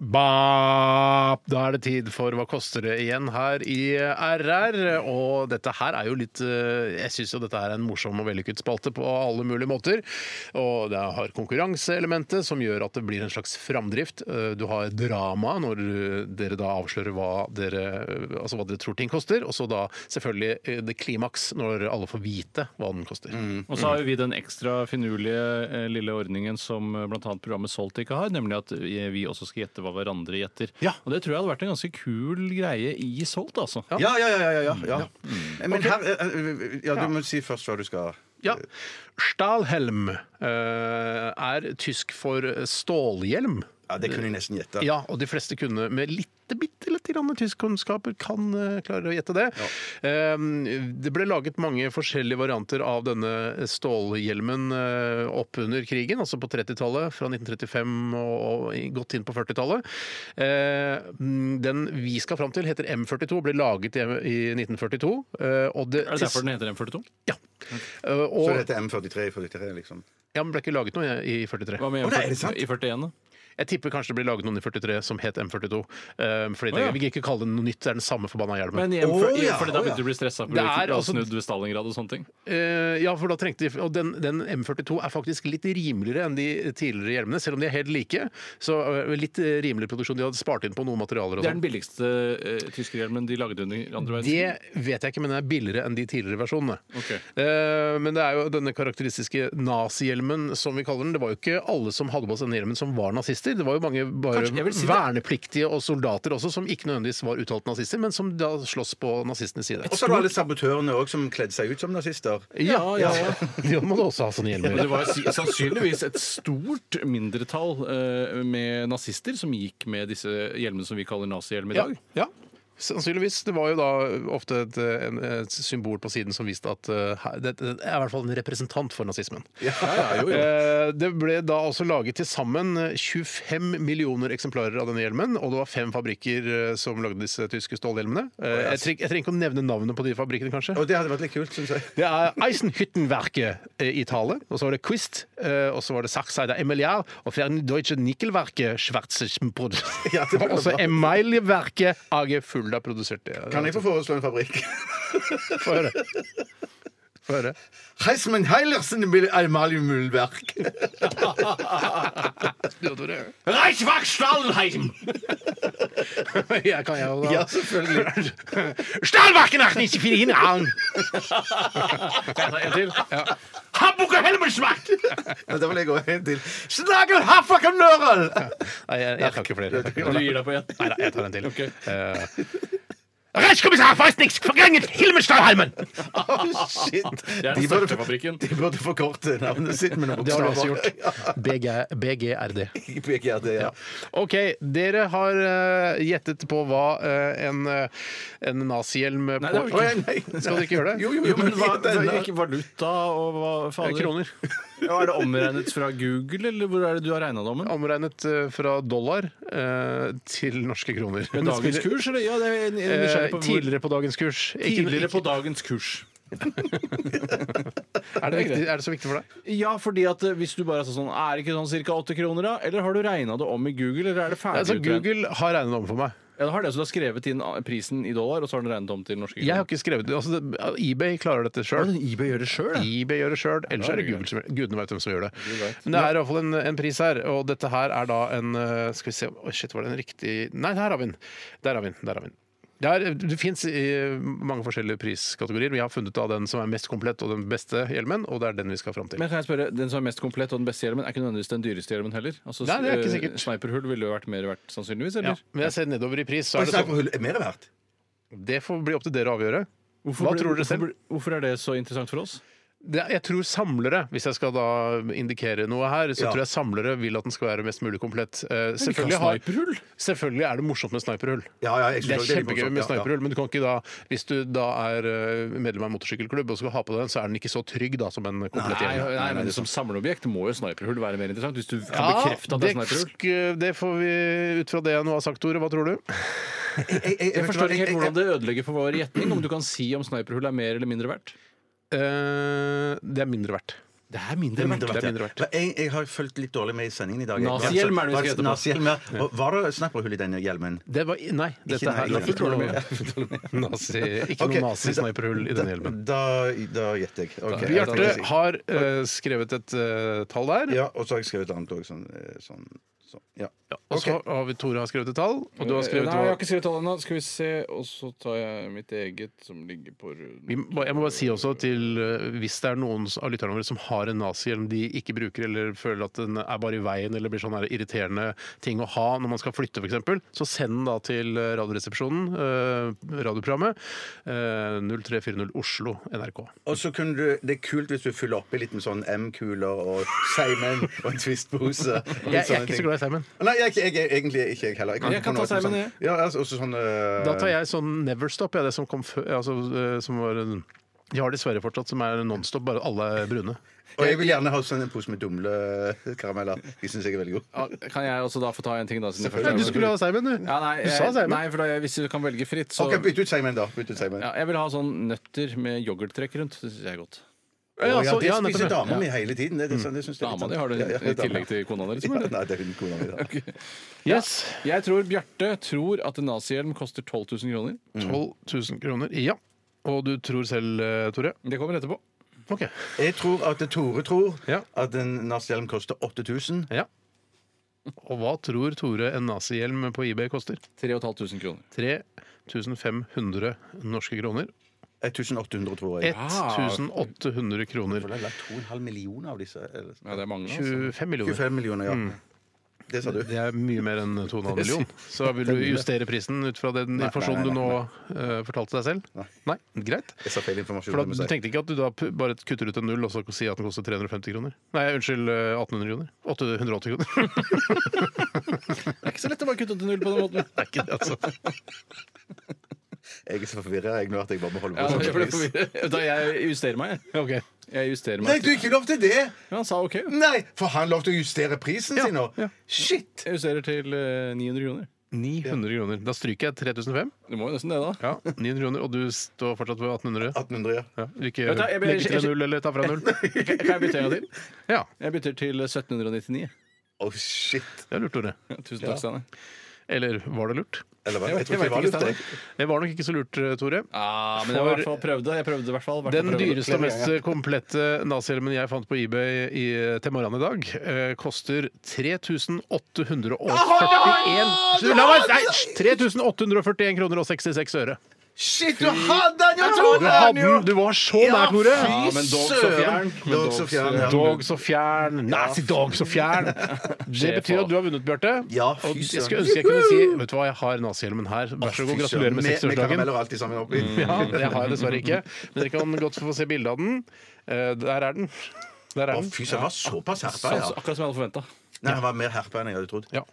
Bap! Da er det tid for Hva koster det igjen her i RR. Og dette her er jo litt eh, Jeg syns jo dette her er en morsom og vellykket spalte på alle mulige måter. Og det har konkurranseelementet som gjør at det blir en slags framdrift. Eh, Du har drama når eh, dere da avslører hva dere, eh, altså hva dere tror ting koster. Og så da selvfølgelig eh, det klimaks når alle får vite hva den koster. Og så har jo vi den ekstra finurlige eh, lille ordningen som eh, blant annet programmet Salt ikke har, nemlig at vi vi også skal gjette hva hverandre gjetter. Ja. Og det tror jeg hadde vært en ganske kul greie i Salt, altså. Ja, ja, ja. ja, ja, ja, ja. Men her eh, eh, Ja, du må si først hva du skal Ja. Stahlhelm eh, er tysk for stålhjelm. Ja, Det kunne jeg nesten gjette. Ja, og de fleste kunne med litt, bitte litt grann tyskkunnskaper kan eh, klare å gjette det. Ehm, det ble laget mange forskjellige varianter av denne stålhjelmen eh, opp under krigen, altså på 30-tallet, fra 1935 og, og i- godt inn på 40-tallet. Eh, mm, den vi skal fram til, heter M42, ble laget i, i 1942. eh, og det, Er det derfor den heter M42? Ja. Eh, og, Så dette er M43 43, liksom. ja, men ble ikke laget noe i i 43. Hva med Å, nei, er det sant? M40 i 41, da? Jeg tipper kanskje det blir laget noen i 43 som het M42. Um, fordi det, Å, ja. Vi kan ikke kalle det noe nytt, det er den samme forbanna hjelmen. Men i M40, Å, ja, fordi da å, ja. begynte du å bli stressa fordi Det du er ikke ble altså- snudd ved Stalingrad og sånne ting. Eh, ja, for da trengte de, og den, den M42 er faktisk litt rimeligere enn de tidligere hjelmene, selv om de er helt like. Så eh, litt eh, rimeligere produksjon. De hadde spart inn på noen materialer og Det er den sånn. billigste eh, tyskerhjelmen de lagde under andre verdenskrig. Det vet jeg ikke, men den er billigere enn de tidligere versjonene. Ok. Eh, men det er jo denne karakteristiske nazihjelmen, som vi kaller den. Det var jo ikke alle som hadde på seg den hjelmen som var nazister. Det var jo mange bare Kanskje- jeg vil si det- vernepliktige og soldater også, som ikke nødvendigvis var uttalt nazister, men som da slåss på nazistenes side. Og så er det alle sabotørene òg som kledde seg ut som nazister. Ja, ja, ja. De må da også ha sånne Men det hjelmer. var si- sannsynligvis et stort mindretall eh, med nazister som gikk med disse hjelmene som vi kaller nazihjelm i Ja, dag. ja. Sannsynligvis. Det var jo da ofte et, en, et symbol på siden som viste at eh, her- det, det er i hvert fall en representant for nazismen. Eh, Det ble da også laget til sammen 25 millioner eksemplarer av denne hjelmen, og det var fem fabrikker eh, som lagde disse tyske stålhjelmene. Eh, Jeg treng- jeg trenger ikke å nevne navnet på de fabrikkene, kanskje. Og det hadde vært litt kult, syns jeg. Det er Eisenhüttenverket eh, i tale, og så var det Quist, eh, og så var det Sachseider Emiliar, og Ferndeutsche Nikkelverket Schwarzesbrod. Ja, det var og så bra. Emilieverket AG Fulda produserte. Kan jeg få foreslå en fabrikk? Få høre. Få høre. Heisman Heilersen med aluminiummullverk. Reichwachstallheim! Jeg kan jeg jo da. Ja, selvfølgelig. Stahlbakken 1894 Aalen! En til. Ja. Hamburger Helmelsmacht! Ja, da vil jeg gå en til. Snakker hafakanøren! Nei, jeg, jeg tar ikke flere. Du gir deg på én? Nei, nei, jeg tar en til. Ok. Eh, Reichskommissar Feistnix forgrenget Hilmenstallheimen! Å, Oh, shit. Det er De burde, Støttefabrikken. de burde forkorte navnet sitt med noen det har du også bokstaver. gjort. BG, BGRD. Jeg peker at det, ja. OK, dere har eh, gjettet på hva eh, en, eh, en nazihjelm på Nei, det har vi ikke. Å, ja, nei. Skal dere ikke gjøre det? Jo, jo, Jo, men hva, denne- ikke valuta og hva Eh, fader? Kroner. Ja, er det omregnet fra Google, eller hvor er det du har regna det om? Omregnet eh, fra dollar eh, til norske kroner. Med dagens kurs, eller? Ja, det er jeg Eh, nysgjerrig på hvor- tidligere på dagens kurs. Ikke- tidligere på dagens kurs. er, det viktig, er det så viktig for deg? Ja, fordi at eh, hvis du bare sa sånn Er det ikke sånn ca. 8 kroner, da? Eller har du regna det om i Google, eller er det ferdig Altså, utregnet? Google har regnet om for meg. Ja, det har det, så du har skrevet inn eh, prisen i dollar, og så har den regnet om til norske Jeg har kroner? ikke skrevet det. Altså, det eBay klarer dette sjøl. eBay gjør det sjøl, eBay gjør det sjøl, ellers da er er det det Google som Gudene vet hvem som gjør det. vet. Men det er iallfall en, en pris her, og dette her er da en eh, Skal vi se Oi, shit, var det en riktig Nei, her har vi den! Der har vi den. der har vi den. Det, er, det fins mange forskjellige priskategorier, men jeg har funnet av den som er mest komplett og den beste hjelmen, og det er den vi skal fram til. Men kan jeg spørre, Den som er mest komplett og den beste hjelmen, er ikke nødvendigvis den dyreste hjelmen heller? Altså, Nei, det er ikke eh, sikkert. Sniperhull ville jo vært mer verdt, sannsynligvis? ja. eller? Men jeg ser nedover i pris, så Oi, er det sånn. Sniperhull er mer verdt. Det får bli opp til dere å avgjøre. Hvorfor, Hva ble- tror dere selv? Hvorfor, ble- hvorfor er det så interessant for oss? Det, jeg tror samlere, hvis jeg skal da indikere noe her, så Ja. tror jeg samlere vil at den skal være mest mulig komplett. Eh, selvfølgelig, har, Sniperhull? selvfølgelig er det morsomt med sniperhull. Ja, ja, jeg Det skjønner er kjempegøy med sniperhull, men du kan ikke da, hvis du da er eh, medlem av en motorsykkelklubb og skal ha på den, så er den ikke så trygg da som en komplett Nei, hjelm. nei, men som samleobjekt må jo sniperhull være mer interessant. Hvis du kan Ja, bekrefte at det er sniperhull. sk- eh, det får vi ut fra det jeg nå har sagt, Tore. Hva tror du? Jeg forstår ikke helt hvordan det ødelegger for vår gjetning, om du kan si om sniperhull er mer eller mindre verdt. Eh, det er mindre verdt. Det er mindre verdt. Det er mindre verdt. Men Jeg, jeg har fulgt litt dårlig med i sendingen i dag. Nazihjelm er det vi Var skal hete på. nazihjelm, ja. Og Var det sniperhull i denne hjelmen? Det var, nei, dette nei, her det var ikke noe nazi, ikke Ok, noe nazi-sniperhull i denne hjelmen. Da, da gjetter jeg. Ok, jeg tar det. Bjarte har eh, skrevet et eh, tall der. Ja, og så har jeg skrevet et annet òg. Sånn, eh, sånn, sånn. Ja. Og så har vi Tore har skrevet et tall, og du har skrevet Eh, Nei, jeg hva har ikke skrevet tallet ennå. Skal vi se, og så tar jeg mitt eget som ligger på Vi må- jeg må bare si også til eh, Hvis det er noen av lytterne våre som har en nazihjelm de ikke bruker, eller føler at den er bare i veien eller blir sånn her irriterende ting å ha når man skal flytte f.eks., så send den da til eh, Radioresepsjonen, eh, radioprogrammet, eh, 0340 Oslo NRK. Og så kunne du, Det er kult hvis du fyller oppi litt med sånn M-kuler og Seimen og en Twist-pose. og Jeg, jeg sånne er ikke ting. så glad i Simon. Nei, jeg, er ikke- jeg, er egentlig ikke jeg heller. Jeg kan komme ta opp med Simon, sånn, ja. altså, også sånn eh, Da tar jeg sånn Never Stop, ja, det som kom før altså, eh, som var en de har dessverre fortsatt som er Nonstop, bare alle er brune. Og jeg vil gjerne ha sånn en pose med dumlekarameller. De syns jeg er veldig god. Kan jeg også da få ta en ting, da? Siden jeg først Nei, er- du skulle ha Simon, du! ja, nei, du sa jeg, Simon. nei, for da, jeg- hvis du kan velge fritt, så Ok, Bytt ut Seimen, da. Bytt ut Simon. ja, Jeg vil ha sånn nøtter med yoghurttrekk rundt. Det syns jeg er godt. Ja, Å, så- ja, ja, det nettopp, ja. spiser dama mi hele tiden. Det, det, det, det, synes jeg er litt Dama di har sant. det Ja, ja, i dama. tillegg til kona di, liksom? ja, eller? Nei, det er hun kona mi. da. Yes. Jeg tror Bjarte tror at en nazihjelm koster 12 000 kroner. Mm. 12 000 kroner. Ja. Og du tror selv, eh, Tore? Det kommer etterpå. Ok. Jeg tror at Tore tror Ja. at en nazihjelm koster 8000. Ja. Og hva tror Tore en nazihjelm på eBay koster? 3500 kroner. 3500 norske kroner. 1800, Eh, tror jeg. 1800 For kroner. det er lagt 2,5 millioner av disse. eller- Ja, det er mange. Altså. 25 millioner. 25 millioner, ja. Mm. Det sa du. Det er mye mer enn 2,5 million. Så vil du justere prisen ut fra den informasjonen du nå eh, fortalte deg selv? Nei. Nei? Greit. Jeg sa feil informasjon. For da, det må jeg du si. tenkte ikke at du da p- bare kutter ut en null og så sier at den koster 350 kroner? Nei, unnskyld, eh, 1800 kroner. 880 kroner. Det er ikke så lett å bare kutte til null på den måten. Det er ikke det, altså. Jeg er så forvirra jeg, nå at jeg bare må holde på Ja, sånn. jeg, ble forvirret. Da, jeg justerer meg. jeg. Ok. Jeg justerer Nei, meg. du er ikke lov til det! Ja, han sa OK. Nei, For han lovte å justere prisen sin nå. Shit! Jeg justerer til eh, 900 kroner. 900 kroner. Da stryker jeg 3500. Du må jo nesten det, da. Ja, 900 kroner, Og du står fortsatt på 1800? 1800, ja. Ja. Vil ikke Vet du hva, jeg- legge til jeg- en null eller ta fra null? Kan kan jeg bytte en gang til? Ja, Jeg bytter til eh, Å, 1799. Oh, shit. det er lurt, Tore. Ja, Tusen takk, Steinar. Eller var det lurt? Eller hva? Jeg vet Jeg tror ikke, ikke det var lurt, Steinar. Det var nok ikke så lurt, eh, Tore. Ja, men jeg var i hvert fall prøvde. Jeg prøvde i hvert fall. Hvert fall Den prøvde. dyreste og mest komplette nazihjelmen jeg fant på eBay i, til morgenen i dag, eh, koster 3841 Du, La meg Nei, hysj! 3841 kroner og 66 øre. Shit, du hadde den jo, Tore! Du hadde den! Du var så nær, Tore! Ja, men dog så fjern. Men Dog så fjern, ja. Dog så fjern. Nazi dog så fjern. Det betyr at du har vunnet, Bjarte. Ja, fy og jeg søren. skulle ønske jeg kunne si Vet du hva, jeg har nazihjelmen her. Vær så god, gratulerer med Med- Med 60-årsdagen. karameller og alt i sammen oppi. Mm. Ja, det har jeg dessverre ikke. Men dere kan godt få se bilde av den. Eh, Der er den. Der er Å, den. fy søren, han var såpass herpa, Sånn, ja. så- akkurat som jeg hadde forventa. Nei, han var mer herpa enn jeg hadde trodd. Ja.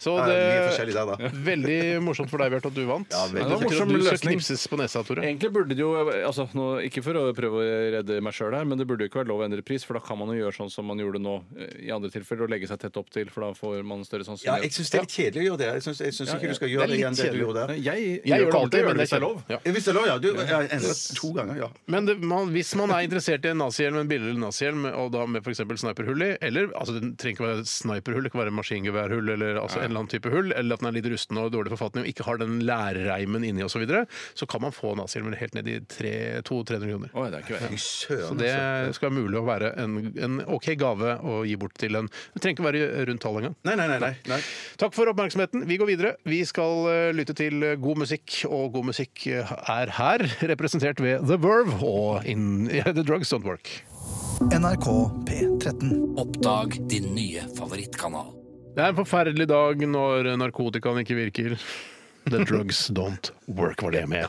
Så Ja, vi er det forskjellige der, da. Veldig morsomt for deg, Bjarte, at du vant. Ja, veldig det var kjekt. morsom Du skal løsning. knipses på nesa, Tore. Egentlig burde det jo altså, nå, Ikke for å prøve å redde meg sjøl her, men det burde jo ikke vært lov å endre pris, for da kan man jo gjøre sånn som man gjorde nå eh, i andre tilfeller, og legge seg tett opp til, for da får man større Ja, jeg sannsynlighet. syns det er litt kjedelig å gjøre det. Jeg syns, jeg syns Ja, ikke ja. du skal gjøre Det er det igjen, litt det du gjorde der. Jeg, jeg, Jeg gjør det kommer til å alltid, gjøre men det det hvis det er er lov. Ja. Hvis det er lov, ja. Du jeg endret to ganger, ja. Men det, man, hvis man er interessert i en nazihjelm, en billigere nazihjelm, og da med f.eks. sniperhull i, eller altså det trenger ikke være sniperhull, det kan være maskingeværhull eller altså, en eller annen type hull, eller at den er litt rusten og i dårlig forfatning og ikke har den lærreimen inni osv., så, videre, så kan man få nazihjelmer helt ned i 200-300 kroner. Oi, det er ikke verre. Fy søren. Så det skal være mulig å være en, en OK gave å gi bort til en Det trenger ikke være rundt tall engang. Nei, nei, nei. nei, nei. Takk for oppmerksomheten. Vi går videre. Vi skal eh, lytte til eh, god musikk, og god musikk eh, er her, representert ved The Verve og in, yeah, The Drugs Don't Work. NRK P13. Oppdag din nye favorittkanal. Det er en forferdelig dag når narkotikaen ikke virker. The drugs don't work, var det med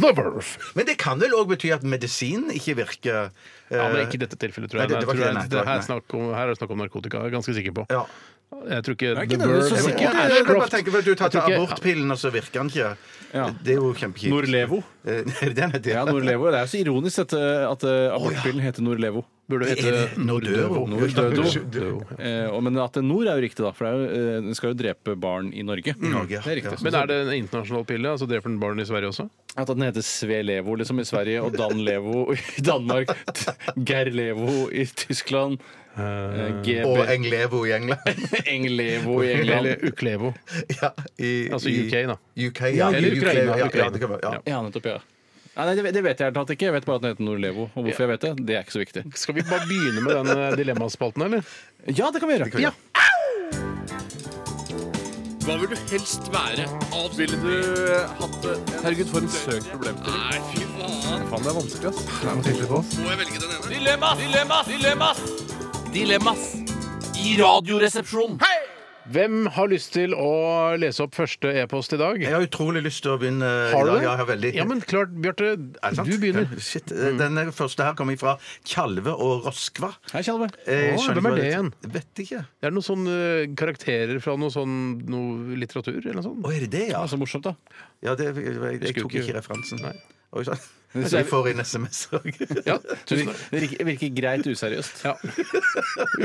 The Verve. Men det kan vel òg bety at medisinen ikke virker. eh, Ja, men ikke i dette tilfellet, tror Nei, jeg. det- det var jeg tror ikke- nei, jeg- det var det her, er ikke- nei. snakk om, her er det snakk om narkotika, jeg er ganske sikker på. Ja. Jeg tror ikke, er ikke The nødvendigvis så Verve sikkert. Jeg Jeg, tror ikke jeg, bare Ashcroft- tenker vel Du tar jeg tror til ikke- abortpillen, og så virker den ikke. Ja. Det er jo kjempekjipt. Norlevo. Eh, Den er det. Ja, Norlevo. Det er jo så ironisk dette, at eh, abortpillen heter Norlevo. Burde Det er hete Nordøvo. Nordøvo. Nordøvo. Eh, og- men at det Nord er jo riktig, da. For det er jo, eh, den skal jo drepe barn i Norge. Norge, Det er riktig. ja. Men er det en internasjonal pille? Altså dreper den barn i Sverige også? At den heter Svelevo liksom i Sverige, og Dan Levo i Danmark, Geir Levo i Tyskland, eh, Og GB Englevo i England. Eng Levo i Eller England. Uklevo. ja, i, Altså i- UK, da. UK, ja. Eller UK, Ukraina, Ja, ja, Ukraina. det kan være, ja. Ja, nettopp, ja. Nei, nei, det- det vet jeg helt tatt ikke. Jeg vet bare at den heter Norlevo. Og hvorfor jeg vet det, det er ikke så viktig. Skal vi bare begynne med den eh, dilemmaspalten, eller? Ja, det kan vi gjøre. Ja. Hva vil du helst være? Ville du hatt det? Herregud, for en søk problemstilling. Nei, fy faen. Faen, det er vanskelig, ass. Må jeg velge den ene? Dilemmas! Dilemmas! Dilemmas! Dilemmas! I radioresepsjonen. Hvem har lyst til å lese opp første e-post i dag? Jeg har utrolig lyst til å begynne. eh, i Har du dag. det? Ja, jeg har veldig. Ja, men klart, Bjarte. Er det sant? Du begynner. Ja, Shit. eh, Den første her kommer fra Tjalve og Roskva. Hei, Tjalve. Eh, Å, skjønner hvem er ikke hva det igjen? Vet ikke. Det er noen sånne eh, karakterer fra noe sånn noe litteratur eller noe sånt. Å, er det det, ja? Så morsomt, da. ja det, jeg, jeg, jeg Husker tok ikke. ikke referansen. Nei. Oi, sant. Så jeg får inn SMS òg. Ja, tusen takk. Det virker, virker greit useriøst. Ja.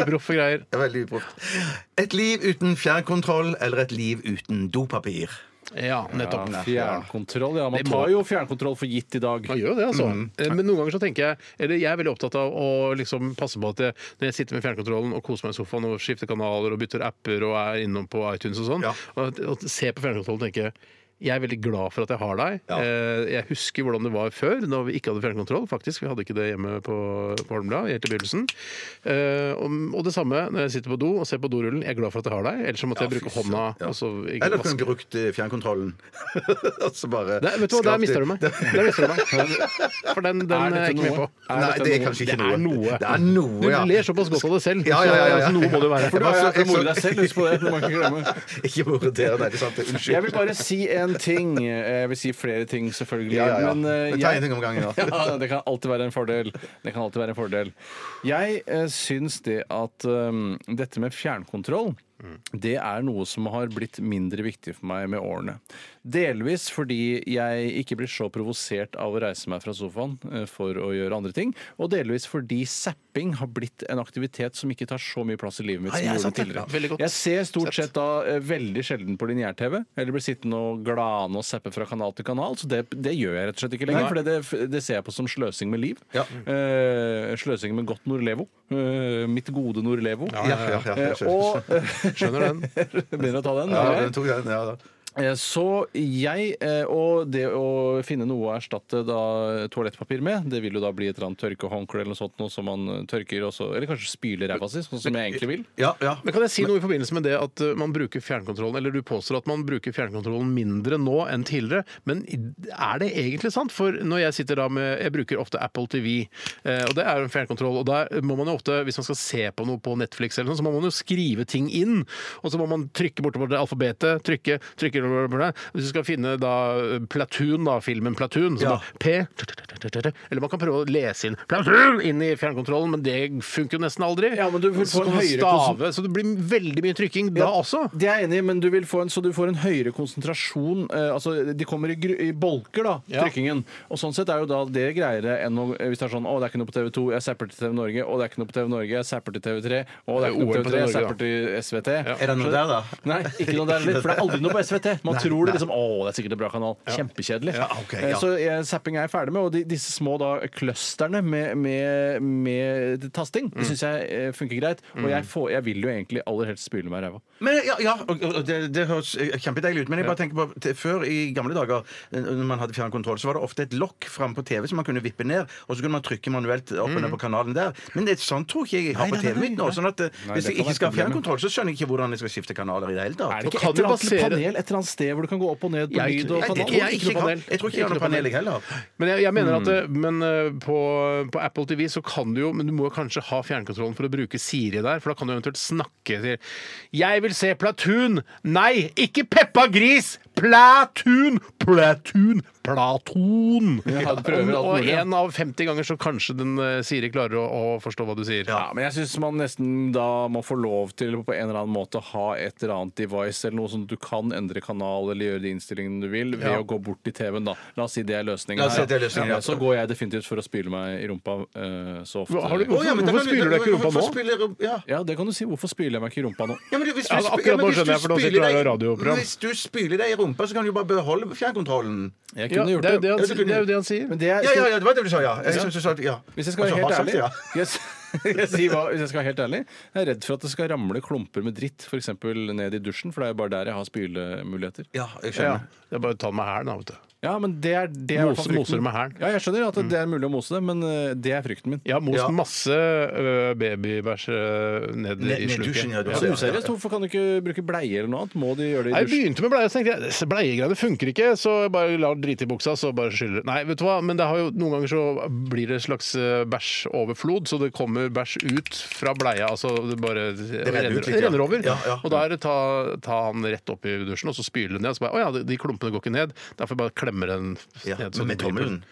Uproffe greier. Veldig uproft. Et liv uten fjernkontroll eller et liv uten dopapir? Ja, nettopp. Ja, fjernkontroll, ja. Man Det må- tar jo fjernkontroll for gitt i dag. Man gjør jo det, altså. Mm. Eh, Men noen ganger så tenker jeg Eller jeg er veldig opptatt av å liksom passe på at jeg, når jeg sitter med fjernkontrollen og koser meg i sofaen og skifter kanaler og bytter apper og er innom på iTunes og sånn, Ja. og, og ser på fjernkontrollen og tenker jeg er veldig glad for at jeg har deg. Ja. Eh, Jeg husker hvordan det var før, når vi ikke hadde fjernkontroll. faktisk. Vi hadde ikke det hjemme på, på Holmblad helt i begynnelsen. Eh, og, og det samme når jeg sitter på do og ser på dorullen. Jeg er glad for at jeg har deg. Ellers så måtte jeg bruke hånda. Ja. og så ikke Eller kunne vaske. brukt eh, fjernkontrollen. Og så bare Nei, vet du hva, skrap der mista du meg. Der mister du meg. For den, den Er dette er jeg ikke med noe? på. Nei, det er kanskje ikke noe. Det er noe, Du ja. ler såpass godt av deg selv, Ja, ja, ja, ja. så noe må det være. Jeg Du var har så- jo jeg akkurat moro så- deg selv, husk på det. Du må ikke glemme. Ikke bare det, nei, det er sant. det. Jeg Unnskyld. vil bare si en ting. Jeg vil si flere ting, selvfølgelig. Ja, ja, ja. Men, eh, Men ta en ting om gangen, da. ja, det kan alltid være en fordel. Det kan alltid være en fordel. Jeg eh, syns det at um, dette med fjernkontroll Mm. det er noe som har blitt mindre viktig for meg med årene. Delvis fordi jeg ikke blir så provosert av å reise meg fra sofaen eh, for å gjøre andre ting, og delvis fordi zapping har blitt en aktivitet som ikke tar så mye plass i Ah, livet mitt Nei, som jeg det sant gjorde det. Veldig tidligere. godt. Jeg ser stort sett da eh, veldig sjelden på lineær-TV. Eller blir sittende og glane og zappe fra kanal til kanal. Så det, det gjør jeg rett og slett ikke lenger, for det, det ser jeg på som sløsing med liv. Ja. Eh, sløsing med godt Norlevo. Eh, mitt gode Norlevo. Ja, ja, ja, ja, Eh, og eh, Skjønner den. Begynner å ta den. Ja, eller? den tok den, ja, da. Eh, Så jeg, eh, og det å finne noe å erstatte da toalettpapir med, det vil jo da bli et eller annet tørkehåndkle eller noe sånt, noe som man eh, tørker, og så, eller kanskje spyler ræva si, sånn som jeg egentlig vil. Ja, ja. Men Kan jeg si noe i forbindelse med det at uh, man bruker fjernkontrollen, eller du påstår at man bruker fjernkontrollen mindre nå enn tidligere, men i- er det egentlig sant? For når jeg sitter da med Jeg bruker ofte Apple TV, eh, og det er jo en fjernkontroll, og der må man jo ofte, hvis man skal se på noe på Netflix eller noe, så må man jo skrive ting inn, og så må man trykke bortover det alfabetet, trykke, trykke blablabla. Hvis du skal finne da eh, Platoon, da, filmen Platoon, så Ja. da P Eller man kan prøve å lese inn Platoon inn i fjernkontrollen, men det funker jo nesten aldri. Ja, men du vil Så få en kan du høyere stave, så det blir veldig mye trykking da også. Det er jeg enig i, men du vil få en, så du får en høyere konsentrasjon. Eh, altså, De kommer i, gru- i bolker, da, trykkingen. Og sånn sett er jo da det greiere enn å, hvis det er sånn å, det er ikke noe på TV 2, jeg zapper til TV Norge, å, det er ikke noe på TV Norge, jeg zapper til TV 3, å, det er ikke noe på OL TV på 3, jeg TV Norge, zapper til SVT. Er det noe der, da? Nei, ikke noe der heller, for det er aldri noe på SVT. Man tror det liksom Å, det er sikkert en bra kanal. Kjempekjedelig. Ja, ok, ja. Eh, Så eh, zapping er jeg ferdig med, og de, disse små da clusterne med, med, med eh, tasting, det syns jeg eh, funker greit. Og jeg, får, jeg vil jo egentlig aller helst spyle meg i ræva. Men, ja, ja og, og det, det høres eh, kjempedeilig ut. Men jeg bare tenker på til, før i gamle dager, eh, når man hadde fjernkontroll, så var det ofte et lokk fram på TV som man kunne vippe ned, og så kunne man trykke manuelt opp Mm. og ned på kanalen der. Men det, sånn tror ikke jeg jeg har på TV-en min nå. Sånn at eh, hvis det jeg kan være ikke skal ha problemet. fjernkontroll, så skjønner jeg ikke hvordan jeg skal skifte kanaler i det hele Er det tatt. ikke kan et du eller annet basere- panel et eller annet sted hvor du kan gå opp og ned på Jeg- lyd og Jeg jeg- tror kanal? Ikke ikke jeg noe har- panel. jeg tror ikke jeg har noe panel, jeg heller. Men jeg, jeg mener Mm. at det, men eh, på, på Apple TV så kan du jo Men du må jo kanskje ha fjernkontrollen for å bruke Siri der, for da kan du eventuelt snakke til Jeg vil se Platoon! Nei, ikke Peppa Gris! Platoon! Platoon! Platon! Ja, du prøver alt og og mulig, ja. en av 50 ganger så kanskje den eh, Siri klarer å, å forstå hva du sier. Ja, men jeg syns man nesten da må få lov til på en eller annen måte å ha et eller annet device eller noe sånn at du kan endre kanal eller gjøre de innstillingene du vil ved å gå bort til TV-en, da. La oss si det er løsningen. La oss si her, det er løsningen, ja. Så går jeg definitivt for å spyle meg i rumpa eh, så ofte. Hva- har du- Å, ja, men da Hvorfor kan spyler du deg ikke i rumpa hvorfor nå? spyler du- Ja. Ja, det kan du si. Hvorfor spyler jeg meg ikke i rumpa nå? Ja, men hvis du, Ja, altså, sp- akkurat ja, men nå hvis du skjønner jeg, for nå spyler sitter du her deg- og radioprogram. Hvis du spyler deg i rumpa, så kan du jo bare beholde fjernkontrollen. Jeg Ja, kunne det, er gjort det. jo det, han, Ja, du kunne- det er jo det han sier. Men det jeg Ja, ja, ja, det var det du sa, ja. Jeg synes du sa, ja. Hvis jeg skal Altså, være helt har sagt ærlig, det, ja. jeg, s- jeg, sier hva, hvis jeg skal være helt ærlig Jeg er redd for at det skal ramle klumper med dritt for eksempel ned i dusjen, for det er jo bare der jeg har spylemuligheter. Ja, jeg Ja. skjønner. Det er bare å ta den med hælen, da, vet du. Ja, men det er, det er i hvert Mose- fall moser frykten. med hælen. Mm. Ja, jeg skjønner at det er mulig å mose det, men eh, det er frykten min. Jeg har most Ja. masse ø, babybæsj ø, Ned- ned, i ned i sluket. dusjen, ja, du Ja, har det sett. er useriøst. Altså, Useriøst, hvorfor kan du ikke bruke bleie eller noe annet? Må de gjøre det i Jeg dusjen? begynte med bleie, så tenkte jeg disse bleiegreiene funker ikke, så jeg bare lar drite i buksa, så bare skyller Nei, vet du hva, men det har jo noen ganger så blir det slags eh, bæsjoverflod, så det kommer bæsj ut fra bleia, altså det bare det renner renner, ut litt, ja. renner over. Ja, ja. Og da er det ta, ta han rett opp i dusjen, og så spyle ned, og så bare å ja, de- de klumpene går ikke ned, derfor bare klemmer den Ja, ned. så men med det blir på- tommelen?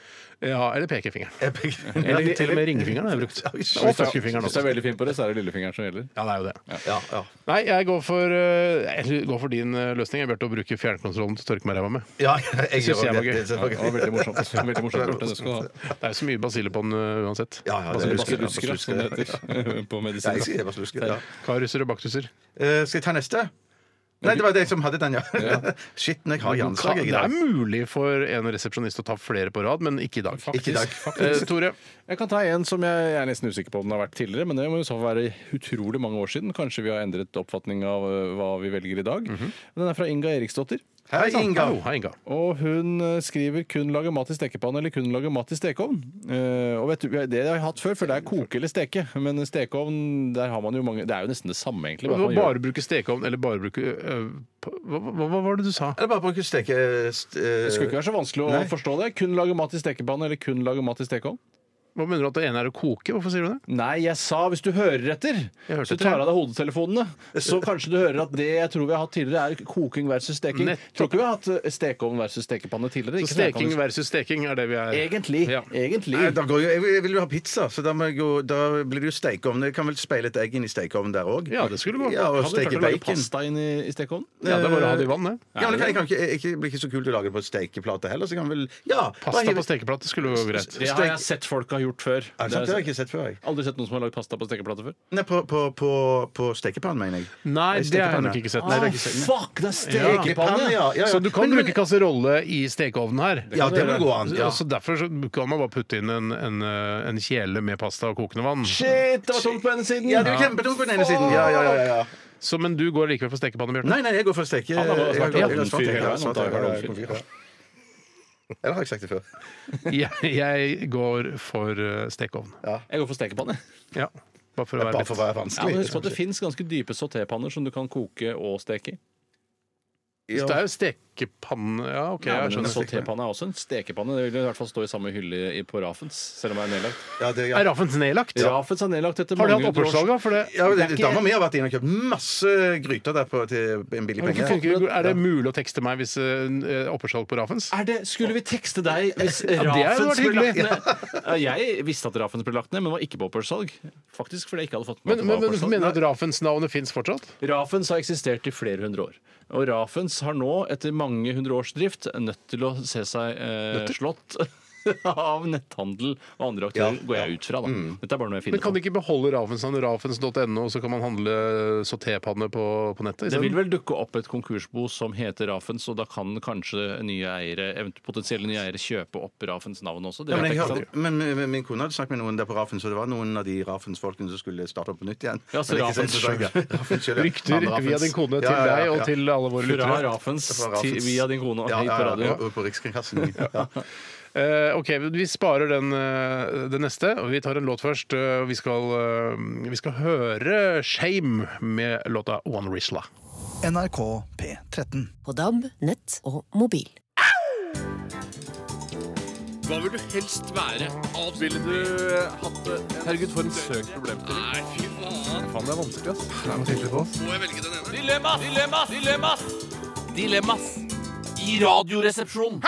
Ja, eller pekefingeren. Jeg begynner- Eller til og med ringfingeren har jeg brukt. Og Hvis du er- pekefingeren Hvis også. du er veldig fin på det, så er det lillefingeren som gjelder. Ja, det er jo det. Ja, ja. Nei, jeg går for, eh, jeg går for din eh, løsning. Jeg burde bruke fjernkontrollen til å tørke meg ræva med. ja jeg Synes jeg gjør var det. gøy. Det synes jeg Ja, var det gøy. var veldig morsomt. Veldig morsomt gjort, det skal du ha. Det er jo så mye basiller på den uh, uansett. Ja, ja, det er Basillusker. basiller. Basilusker, som det heter på Ja, jeg medisin. sier det var sluske, ja. Karuser og baktuser. Eh, Skal jeg ta neste? Nei, det var den som hadde den, ja. Shit, når jeg har hjerneslag jeg i Det er dag. mulig for en resepsjonist å ta flere på rad, men ikke i dag. Ikke i dag. Eh, Tore, Jeg kan ta en som jeg, jeg er nesten usikker på om den har vært tidligere, men det må i så fall være utrolig mange år siden. Kanskje vi har endret oppfatning av øh, hva vi velger i dag. Den er fra Inga Eriksdotter. Hei, Inga. Hallo, hei, Inga. Og hun eh, skriver 'kun lage mat i stekepanne' eller 'kun lage mat i stekeovn'. Eh, og vet du, Det har jeg hatt før, for det er koke eller steke. Men stekeovn, der har man jo mange Det er jo nesten det samme, egentlig. Du bare at må man gjør- bare bruke stekeovn eller bare bruke eh, på- hva, hva, hva var det du sa? Eller bare bruke steke... st- eh, Det skulle ikke være så vanskelig å forstå det. Kun lage mat i stekepanne eller kun lage mat i stekeovn. Hva mener du at det ene er å koke? Hvorfor sier du det? Nei, jeg sa hvis du hører etter, Jeg hørte så tar etter. av deg hodetelefonene, så kanskje du hører at det jeg tror vi har hatt tidligere, er koking versus steking. Nettopp. Tror ikke vi har hatt eh, stekeovn versus stekepanne tidligere. Så ikke steking stekeovn. liksom. versus steking er det vi er Egentlig. Ja. Egentlig. Nei, da går jo, jeg, vil, jeg vil jo ha pizza, så da, må jeg jo, da blir det jo stekeovn. Jeg kan vel speile et egg inn i stekeovnen der òg? Ja, det skulle gå. Ja, og Hadde du steke klart å lage bacon. Pasta inn i, i stekeovnen. Ja, det er bare å ha det i vann, det. Ja, men det eh, kan, jeg kan ikke, jeg, det blir ikke så kult å lage det på stekeplate heller, så kan vel Ja! Pasta på stekeplate skulle jo gå greit. Det har jeg sett folk har gjort før. Er det sant? Det har jeg ikke sett før, jeg. Aldri sett noen som har lagd pasta på stekeplate før. Nei, på, på, på, på stekepann, mener jeg. Nei, det har jeg nok ikke sett. Nei, det har jeg ikke sett. fuck, det er Stekepanne, ja. ja, ja. Så du kan Men- men- bruke kasserolle i stekeovnen her? Ja, det må gå an. Ja. Så derfor så kan man bare putte inn en, en, eh, en kjele med pasta og kokende vann. Shit, det var tomt på ene siden! Ja, det er jo kjempetungt på den ene siden. Ja, ja, ja, ja, ja. Så, men du går likevel for stekepanne, Bjarte? Nei, nei, jeg går for å steke. Han har bare Jeg sagt går- ja, jeg har svart, fyr, jeg har ja, svart, han tar jeg har jo svart, ja. Eller har jeg sagt det før? Jeg, jeg går for eh, stekeovn. Jeg går for stekepanne. Ja. Bare for å være Bare for å litt være Ja, men vanskelig. Husk sånn på at det fins ganske dype sautépanner som du kan koke og steke i. Så Det er jo stekepanne Ja, OK, Ja, jeg men en skjønner. sautépanne er også en stekepanne. Det vil i hvert fall stå i samme hylle i- på Rafens, selv om det er nedlagt. Ja, det, ja. Er Raffens nedlagt? Rafens er nedlagt etter Har de mange hatt hundre års- opprørssalg, da? For det, Ja, det- Dama mi har vært inne og kjøpt masse gryter der på, til en billig Men penge. ikke funker- er det mulig å tekste meg hvis uh, opprørssalg på Raffens? Er det, skulle vi tekste deg hvis hadde vært Rafens ble hyggelig. lagt ned? Ja, Jeg visste at Rafens ble lagt ned, men var ikke på opprørssalg. Faktisk fordi jeg ikke hadde fått med Men, men, meg at det var men du opprørssalg. mener at Raffens-navnet fins fortsatt? Rafens har eksistert i flere hundre år. Og Rafens har nå, etter mange hundre års drift, nødt til å se seg eh, slått av netthandel og andre aktører, går jeg ut fra. da. Dette er bare noe jeg Mm. Men finner kan på. de ikke beholde Raffens-navnet rafens.no, og så kan man handle sautépanne på, på nettet? Det isteden? vil sånn. vel dukke opp et konkursbo som heter Rafens, og da kan kanskje nye eiere, eventu- potensielle nye eiere kjøpe opp Rafens navn også. Ja, Det men, jeg vet jeg ikke, hørte, sant? men men- men min kone hadde snakket med noen der på Raffen, så det var noen av de Raffens-folkene som skulle starte opp på nytt igjen. Ja, så Men det er ikke sånn Raffens interessant, ja. Raffens selv, ja. Rykter Andre Raffens. via din kone til Ja, ja, ja, deg og ja. til alle våre Fra lyttere. Rafens Fra til, Raffens. via din kone og Ja, hit på ja, ja, radio. og- og på Rikskringkastingen. Ja. Eh, ok, Vi sparer den eh, det neste. og Vi tar en låt først. eh, og vi, skal, eh, vi skal høre 'Shame' med låta 'One Risla'. NRK P13. På DAB, nett og mobil. Hva vil du helst være? Ville du eh, hatt det? Herregud, for en søk problemstilling. Nei, fy faen. Faen, det er vanskelig, ass. Det er noe tydelig på oss. Må jeg velge den ene? Dilemmas! Dilemmas! Dilemmas! Dilemmas i Radioresepsjonen.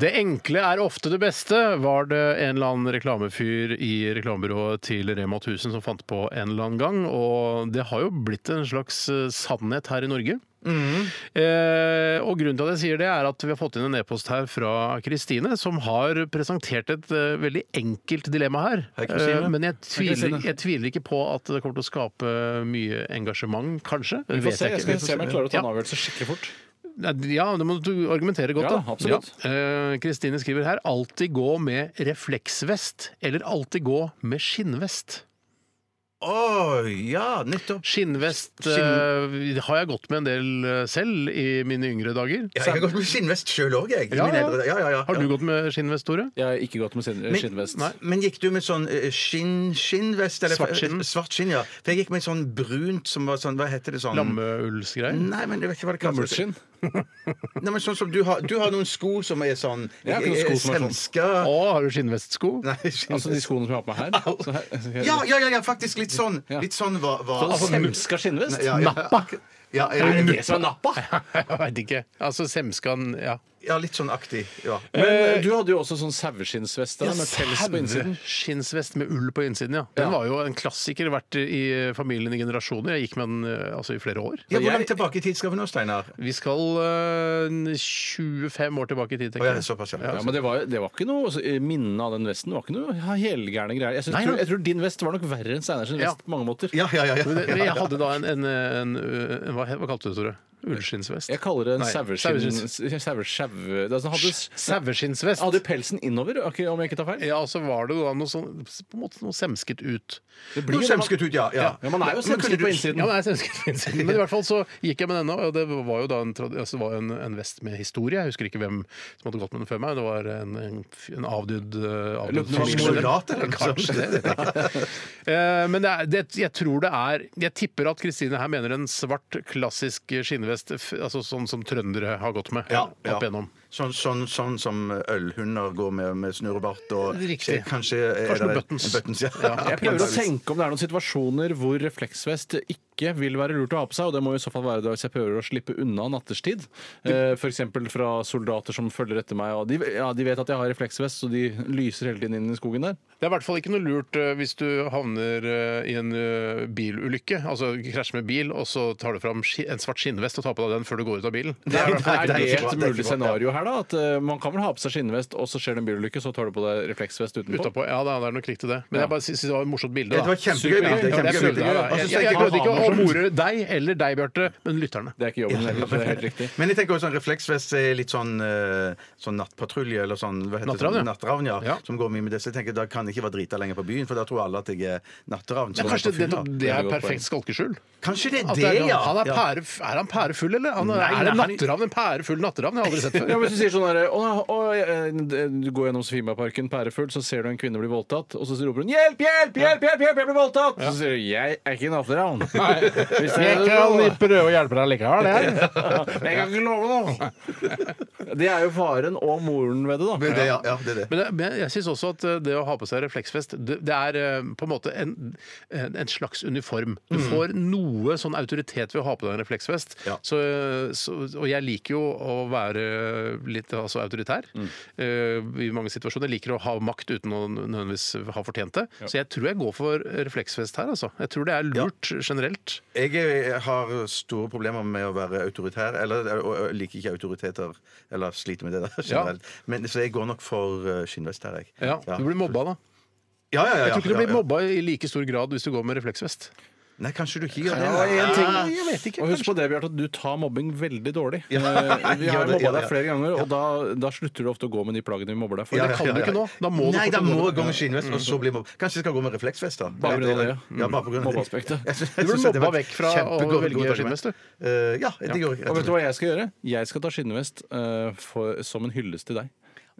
Det enkle er ofte det beste, var det en eller annen reklamefyr i reklamebyrået til Rema 1000 som fant på en eller annen gang. Og det har jo blitt en slags eh, sannhet her i Norge. Mm. Eh, og grunnen til at jeg sier det, er at vi har fått inn en e-post her fra Kristine, som har presentert et eh, veldig enkelt dilemma her. Hei, Kristine. Eh, men jeg tviler, Kristine. jeg tviler ikke på at det kommer til å skape mye engasjement, kanskje. Vi får se, jeg skal se om jeg klarer å ta Ja. en avgjørelse skikkelig fort. Nei, Ja, det må du argumentere godt, Ja, da. absolutt. Eh, Kristine skriver her alltid gå med refleksvest eller alltid gå med skinnvest. Å, ja, nettopp. Skinnvest Skinn- eh, har jeg gått med en del eh, selv i mine yngre dager. Ja, jeg har gått med skinnvest selv også, jeg. i Ja, mine ja. eldre- ja, ja, ja. Har du gått med skinnvest, Tore? Jeg har ikke gått med sin- Men- skinnvest. Nei. Men gikk du med sånn eh, skinn, skinnvest? Eller, Eh, Svart skinn. Svart skinn, ja. For jeg gikk med sånn brunt som var sånn, hva heter det sånn? Lammeullsgreier? Nei, men jeg vet ikke hva det kalles. Muleskinn? Nei, men sånn som du har, du har noen sko som er sånn Jeg har ikke noen sko som er sånn. Selska Å, har du skinnvestsko? Nei, Altså de skoene som jeg har på meg her? Så her, ja, ja, ja, ja, faktisk litt sånn. Litt sånn var, var Altså, Semska skinnvest? Ja, ja. Nappa? Ja, ja, ja, som er nappa? Jeg veit ikke. Altså semskan Ja. ja, litt sånn aktig. Ja. Men eh, du hadde jo også sånn saueskinnsvest der, med pels på innsiden. Skinnsvest med ull på innsiden, ja. Den Ja. var jo en klassiker, vært i familien i generasjoner. Jeg gikk med den eh, altså, i flere år. Ja, hvor langt tilbake i tid skal vi nå, Steinar? Vi skal eh, 25 år tilbake i tid, Å, tenker ja, jeg. såpass, ja. Ja, men det var, det var ikke noe altså, Minnet av den vesten var ikke noe helgærne greier. Jeg, synes, Nei, nei. jeg tror din vest var nok verre enn Steinar sin Ja. vest på mange måter. Ja, ja, ja, ja. Men det, men jeg hadde da en, en, en, en hva, hva kalte du det, Tore? Ullskinnsvest? Jeg kaller det en Nei, saueskinn... saueskinn- Saueskinn... sau- det er sånn, Hadde, Saueskinnsvest. hadde pelsen innover, ok, om jeg ikke tar feil? Ja, og så var det da noe sånn på en måte noe semsket ut. Det Noe jo- semsket ut, ja. ja. Ja, man er jo Men kunne semsket du- på innsiden. Ja, det er semsket på innsiden. Men i hvert fall så gikk jeg med denne, og det var jo da en, trad- altså, det var en, en vest med historie. Jeg husker ikke hvem som hadde gått med den før meg. Det var en, en, f- en avdød, eh, Eller avdød noen familie. soldat, eller noe sånt. Kanskje det. vet jeg ikke. Eh, Men det er, det, jeg tror det er Jeg tipper at Kristine her mener en svart, klassisk skinnvest, f- altså sånn som trøndere har gått med Ja, ja. opp igjennom. Sånn, sånn, sånn som ølhunder går med, med snurrebart og Riktig. Kanskje, er Kanskje noen det- buttons. buttons ja. Jeg prøver å tenke om det er noen situasjoner hvor refleksvest ikke vil være lurt å ha på seg, og det må i så fall være det hvis jeg prøver å slippe unna natterstid. F.eks. fra soldater som følger etter meg. Og de, ja, de vet at jeg har refleksvest, så de lyser hele tiden inn i skogen der. Det er i hvert fall ikke noe lurt eh, hvis du havner eh, i en eh, bilulykke, altså krasjer med bil, og så tar du fram ski- en svart skinnvest og tar på deg den før du går ut av bilen. Er, er- nei, det er ikke bra, det et det er ikke mulig bra, ja. scenario her, da? At eh, man kan vel ha på seg skinnvest, og så skjer det en bilulykke, så tar du på deg refleksvest utenpå? Utenpå. Ja, da, det er nok riktig det. Men Ja. jeg bare syns det var et morsomt bilde. Det da. var et kjempegøy bilde. Ja, kjempegøy det er bilde. kjempegøy. Og så Jeg- tenker Jeg jeg- prøvde ikke å som morer deg eller deg, Bjarte, men lytterne. Det er ikke jobben deres, det er helt riktig. Men jeg tenker også sånn refleksvest er litt sånn, eh, sånn nattpatrulje eller sånn hva heter det? Nattravn, ja. Nattravn, ja. Ja. Som går mye med det. Så jeg tenker da kan jeg ikke være drita lenger på byen, for da tror alle at jeg er natteravn. Det som er er kanskje på det, fylla. det Det er er et godt perfekt skalkeskjul? Kanskje det er At det, er, ja. han er, Ja. pære, er han pærefull, eller? Han, Nei, er det nei, han- natteravn? En pærefull natteravn? Jeg har aldri sett før. Ja, Hvis du sier sånn her, å, å, jeg- eh, Du går gjennom Sofiemarken pærefull, så ser du en kvinne bli voldtatt, og så roper hun 'hjelp, hjelp, hjelp, hjelp, hjelp jeg blir voldtatt'! Så sier du 'jeg er ikke natteravn'. Hvis det er- prøve å hjelpe deg likevel, Jeg kan ikke love noe! Det er jo faren og moren ved det, da. Det er det, ja. ja det er det. Men, det- men jeg syns også at eh, det å ha på seg refleksvest, det, det er eh, på en måte en, en, en slags uniform. Du får noe sånn autoritet ved å ha på deg en refleksvest. Mm. Ja. Så, eh, så, og jeg liker jo å være litt altså, autoritær Mm. eh, i mange situasjoner. Jeg liker å ha makt uten å nødvendigvis ha fortjent det. Så jeg tror jeg går for refleksvest her, altså. Jeg tror det er lurt generelt. Jeg er- har store problemer med å være autoritær. Eller eh, og- og liker ikke autoriteter. Eller sliter med det der generelt. Men, så jeg går nok for eh, skinnvest her, jeg. Ja, Du blir mobba da. Ja, ja, ja, ja, Jeg tror ikke ja, du blir ja. mobba i like stor grad hvis du går med refleksvest. Nei, kanskje du ikke gjør det. Ja, nei. en ting- Ah. Jeg vet ikke. Og husk på det, Bjarte, at du tar mobbing veldig dårlig. Ja. Eh, Vi har Gjør det, mobba ja, deg ja. flere ganger, og da, da slutter du ofte å gå med de plaggene vi mobber deg for. Ja, Det ja, kan ja, du ja. ikke nå. Da må du Nei, da fortelle må jeg gå med skinnvest, og så bli mobba. Kanskje jeg skal gå med refleksvest, da. Mm. Bare på grunn av det, ja. Mm. Ja, bare på grunn av det. Mobbeaspektet. Jeg synes- Du jeg ble synes at det mobba var vekk fra å kjempegod- velge god tanke. skinnvest, du. Eh, ja, det gjorde jeg. Og vet du hva jeg skal gjøre? Jeg skal ta skinnvest eh, for, som en hyllest til deg.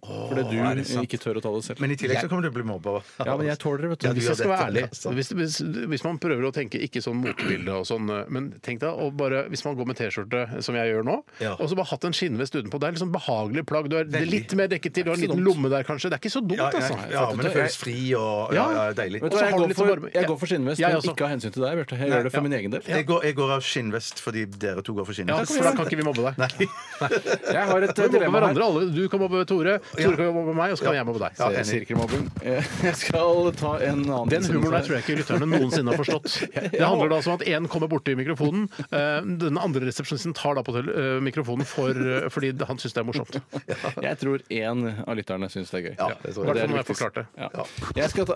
Fordi du er det sant? ikke tør å ta det selv. Men i tillegg så kommer du til å bli mobba. Ja, men jeg tåler det, vet du. Ja, du Hvis gjør jeg skal det, være ærlig, altså. hvis, hvis, hvis man prøver å tenke ikke sånn motebilde og sånn, men tenk deg å bare Hvis man går med T-skjorte, eh, som jeg gjør nå, Ja. og så bare hatt en skinnvest utenpå, det er liksom behagelig plagg. Du er det er Veldig. litt mer dekket til, du har en Det liten er ikke så dumt. lomme der kanskje. Det er ikke så dumt, Ja, altså. ja, ja, men det føles fri og ja, ja, deilig. Vet Og så du hva, har jeg, du går litt for, varme- jeg Ja. går for skinnvest, Jeg men også. ikke av hensyn til deg, Bjarte. Jeg gjør det for min egen del. Jeg går, jeg går av skinnvest fordi dere to går for Ja, skinnvest. for da kan ikke vi mobbe deg. Jeg har et Vi eh, mobber dilemma her. hverandre alle. Du kan mobbe Tore, Tore kan mobbe meg, og så kan jeg mobbe deg. Ja, enig. Eh, Jeg skal ta en annen Den humoren der tror jeg ikke lytterne noensinne har forstått. Det handler da altså om at én kommer borti mikrofonen. eh, Den andre resepsjonisten tar da på tel- eh, mikrofonen for, eh, fordi han syns det er morsomt. I Jeg tror én av lytterne syns det er gøy. Ja, det tror jeg. Og hvert fall det er når jeg viktigst. forklarte det. Ja. Jeg, skal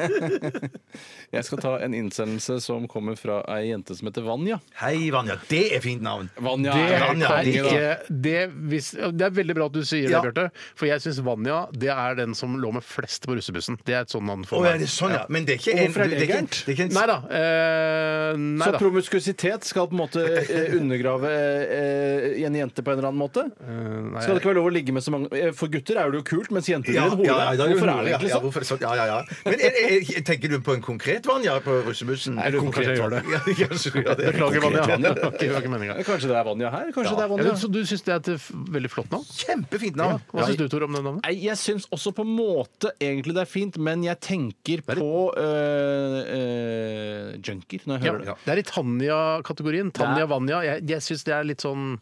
ta jeg skal ta en innsendelse som kommer fra ei jente som heter Vanja. Hei, Vanja. Det er fint navn. Vanja Det er er, Vanja, konge, da. ikke, det, hvis, det er veldig bra at du sier Ja. det, Bjarte. For jeg syns Vanja det er den som lå med flest på russebussen. Det er et sånt navn Å, for ja, det meg. er sånn, ja. Men det er ikke en hvorfor er du- det ikke en- gærent? det er ikke en- Nei da. Eh, nei Så da. promiskusitet skal på en måte eh, undergrave eh, en jente på en eller annen måte? Eh, nei, Skal det ikke være lov å ligge med så mange eh, For gutter er det jo kult, mens jenter Ja, gjør hore. ja, ja, da er Hvorfor hore, er det ja, egentlig ja, sånn? hvorfor er det sånn? Ja, ja, ja. Men er, er, er, tenker du på en konkret Vanja på russebussen? jeg lurer på om kanskje jeg gjør det. Ja, jeg tror jeg det. Beklager, Vanja. Det var ikke- det var ikke meninga. Kanskje det er Vanja her? Kanskje det er Ja, Vanja? men så du syns det er et f- veldig flott navn? Kjempefint navn. Hva syns du, Tor, om det navnet? Nei, jeg syns også på en måte egentlig det er fint, men jeg tenker på øh, øh, junker når jeg Ja, hører det. det er i Tanja-kategorien. Det Tanja er- Vanja. Jeg, jeg syns det er litt sånn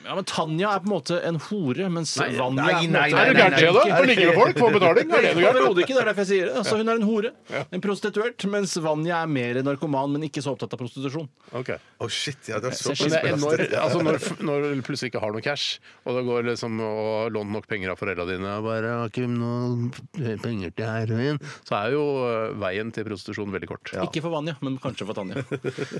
Ja, men Tanja er på en måte en hore, mens Vanja nei, er på en nei, måte- nei, Er du gæren, nei, Thea, da? nei. Får ligge med folk på betaling? Nei, Overhodet ikke. Det er derfor jeg sier det. Altså, hun er en hore. En prostituert. Mens Vanja er mer narkoman, men ikke så opptatt av prostitusjon. Å, shit. Ja, det er så Men Jeg synes det er når, belastende. altså når, når du plutselig ikke har noe cash, og det går liksom og låner nok penger av foreldra dine og bare har ikke noe penger til heroin, så er jo eh, veien til prostitusjon veldig kort. Ikke for Vanja, men kanskje for Tanja.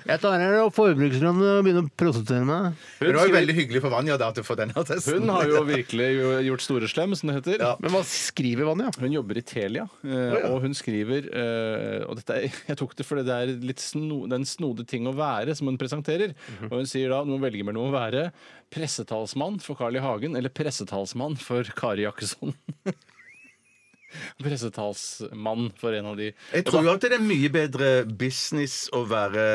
Jeg tar her og forbrukslånet og begynner å prostituere meg. Men Det var jo veldig hyggelig for Vanja da, at du får den attesten. Hun har jo virkelig jo- gjort store slem, som det heter. Men hva skriver Vanja? Hun jobber i Telia, eh, og hun skriver eh, og dette er, Jeg tok det fordi det er litt sno, det er en snodig ting å være, som hun presenterer. Mhm. Og hun sier da du må velge mellom å være pressetalsmann for Carl I. Hagen eller pressetalsmann for Kari Jakkesson. pressetalsmann for en av de. Altså, Jeg tror jo at det er mye bedre business å være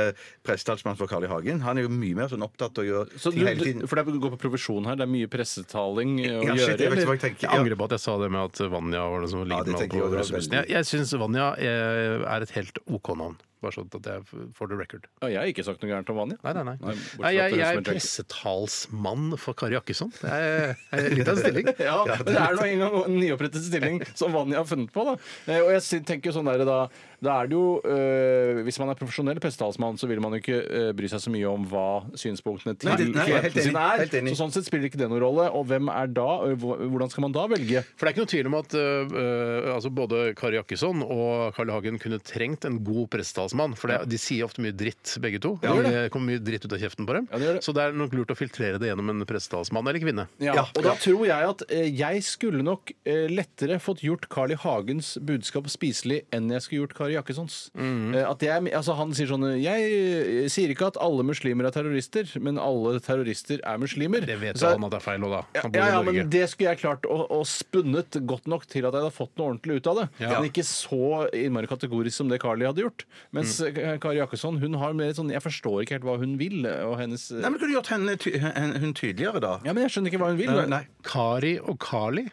prestetalsmann for Carl I. Hagen. Han er jo mye mer sånn opptatt og gjør Så ting hele du, tiden. for det går på provisjon her. Det er mye pressetaling eh, å Ja, shit, jeg gjøre. vet ikke eller? hva jeg tenker. Jeg Ja. angrer på at jeg sa det med at Vanja var det som ligget det med alle tenker jeg på var russebussen. veldig- Jeg, jeg syns Vanja eh, er et helt OK navn. Bare sånn at jeg får the record. Ja, jeg har ikke sagt noe gærent om Vanja. Nei, nei, nei. nei bortsett fra at jeg, det jeg som er er pressetalsmann for Kari Jakkesson. Det er, er litt av en stilling. Ja, men det er nå engang en nyopprettet stilling som Vanja har funnet på. da Eh, Og jeg sy- tenker jo sånn der, da, Da er det jo øh, Hvis man er profesjonell prestetalsmann, så vil man jo ikke øh, bry seg så mye om hva synspunktene til Nei, det- nei, jeg er helt klienten sin enig, er. helt enig. Så sånn sett spiller ikke det noen rolle. Og hvem er da øh, hvor- Hvordan skal man da velge? For det er ikke noe tvil om at øh, øh, altså både Kari Jakkesson og Carl I. Hagen kunne trengt en god prestetalsmann. For det, de sier ofte mye dritt, begge to. det, kommer mye dritt ut av kjeften på dem. Ja, det gjør det. Så det er nok lurt å filtrere det gjennom en prestetalsmann eller kvinne. Ja, og da tror jeg at eh, jeg skulle nok eh, lettere fått gjort Carl I. Hagens budskap spiselig enn jeg skulle gjort Kari Jakkessons. Mhm. Eh, at jeg, altså han sier sånn eh, Jeg eh, sier ikke at alle muslimer er terrorister, men alle terrorister er muslimer. Det vet Så- jo han at det er feil òg, da. ja, Han bor ja, i ja, Norge. men Det skulle jeg klart å, å spunnet godt nok til at jeg hadde fått noe ordentlig ut av det. Ja. Men ikke så innmari kategorisk som det Carly hadde gjort. Mens Mm. eh, Kari Jakkesson hun har mer sånn Jeg forstår ikke helt hva hun vil. eh, Og hennes, Nei, men Kunne du gjort henne, ty hen- hun tydeligere, da? ja, men Jeg skjønner ikke hva hun vil. Nei, nei. Kari og Carly?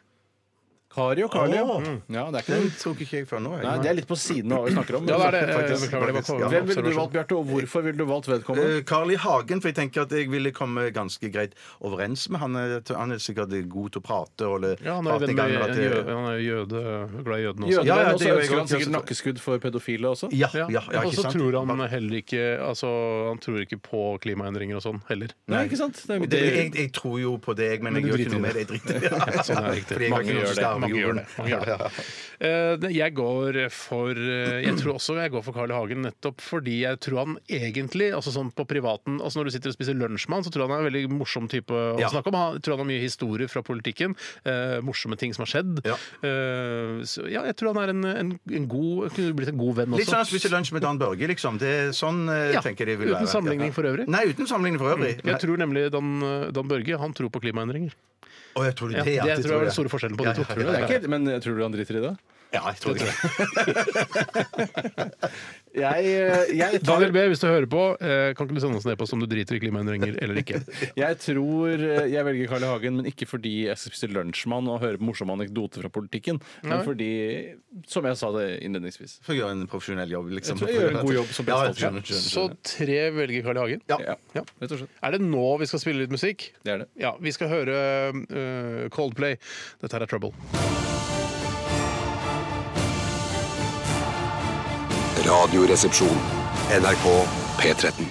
Kari og Carly. ja. Åh. Mm. Ja, det er ikke Den noe tok ikke jeg fra nå. jeg. Nei, det er litt på siden av hva vi snakker om. Ja, det er det. faktisk. Jeg beklager, det var Ja. Hvem ville du observasjon. valgt, Bjarte, og hvorfor ville du valgt vedkommende? Eh, Carl I. Hagen, for jeg tenker at jeg ville komme ganske greit overens med han. eh, t- Han er sikkert god til å prate. Og le- Ja, han er jo prate i venn gang, med og at en det- jøde, han er jo jøde, glad i jødene også. Jødevenn, Ja, ja, og det så gjør jeg ønsker også. han sikkert nakkeskudd for pedofile også. Ja, ja, Ja. ja, og ikke så sant? tror han heller ikke altså, Han tror ikke på klimaendringer og sånn heller. Nei, ikke sant? Det er, Og det, jeg, jeg tror jo på deg, men, jeg du gjør ikke driter i noe med det. Jeg driter i det. Sånn er det riktig. Fordi jeg har Mange ikke noen gjør som det. skal arve Mange gjør jorden. det. Mange gjør det. Eh, nei, Jeg går for eh, Jeg tror også jeg går for Carl I. Hagen nettopp fordi jeg tror han egentlig, altså sånn på privaten altså Når du sitter og spiser lunsj med han, så tror jeg han er en veldig morsom type å Ja. snakke om. Han jeg tror han har mye historier fra politikken, eh, morsomme ting som har skjedd. Ja. Eh, så, ja, jeg tror han er en, en, en god Kunne blitt en god venn også. Litt sånn å spise lunsj med Dan Børge, liksom. Det er sånn eh, Ja, tenker jeg det vil uten være. sammenligning for øvrig. Mm. Nei, uten sammenligning for øvrig. Jeg tror nemlig Dan, Dan Børge han tror på klimaendringer. Å, jeg tror det, Ja, er det, det ja, tror jeg tror er den jeg. store forskjellen på de to. det er ikke helt, men jeg tror du han driter i det? Ja, jeg tror det. Jeg, eh, jeg, tar, Daniel B, hvis du hører på, eh, kan ikke du sende oss en e-post om du driter i klimaendringer eller ikke? jeg tror eh, jeg velger Carl I. Hagen, men ikke fordi jeg skal spise lunsjmann og høre på morsomme anekdoter fra politikken, men fordi, som jeg sa det innledningsvis For å gjøre en profesjonell jobb, liksom. Jeg tror jeg gjør en god jobb som Ja, prest, jeg skjønner, skjønner, Så tre velger Carl I. Hagen. Ja. Ja, Ja. rett og slett. Er det nå vi skal spille litt musikk? Det er det. Ja, Vi skal høre eh, Coldplay. Dette her er Trouble. Radioresepsjon. NRK P13.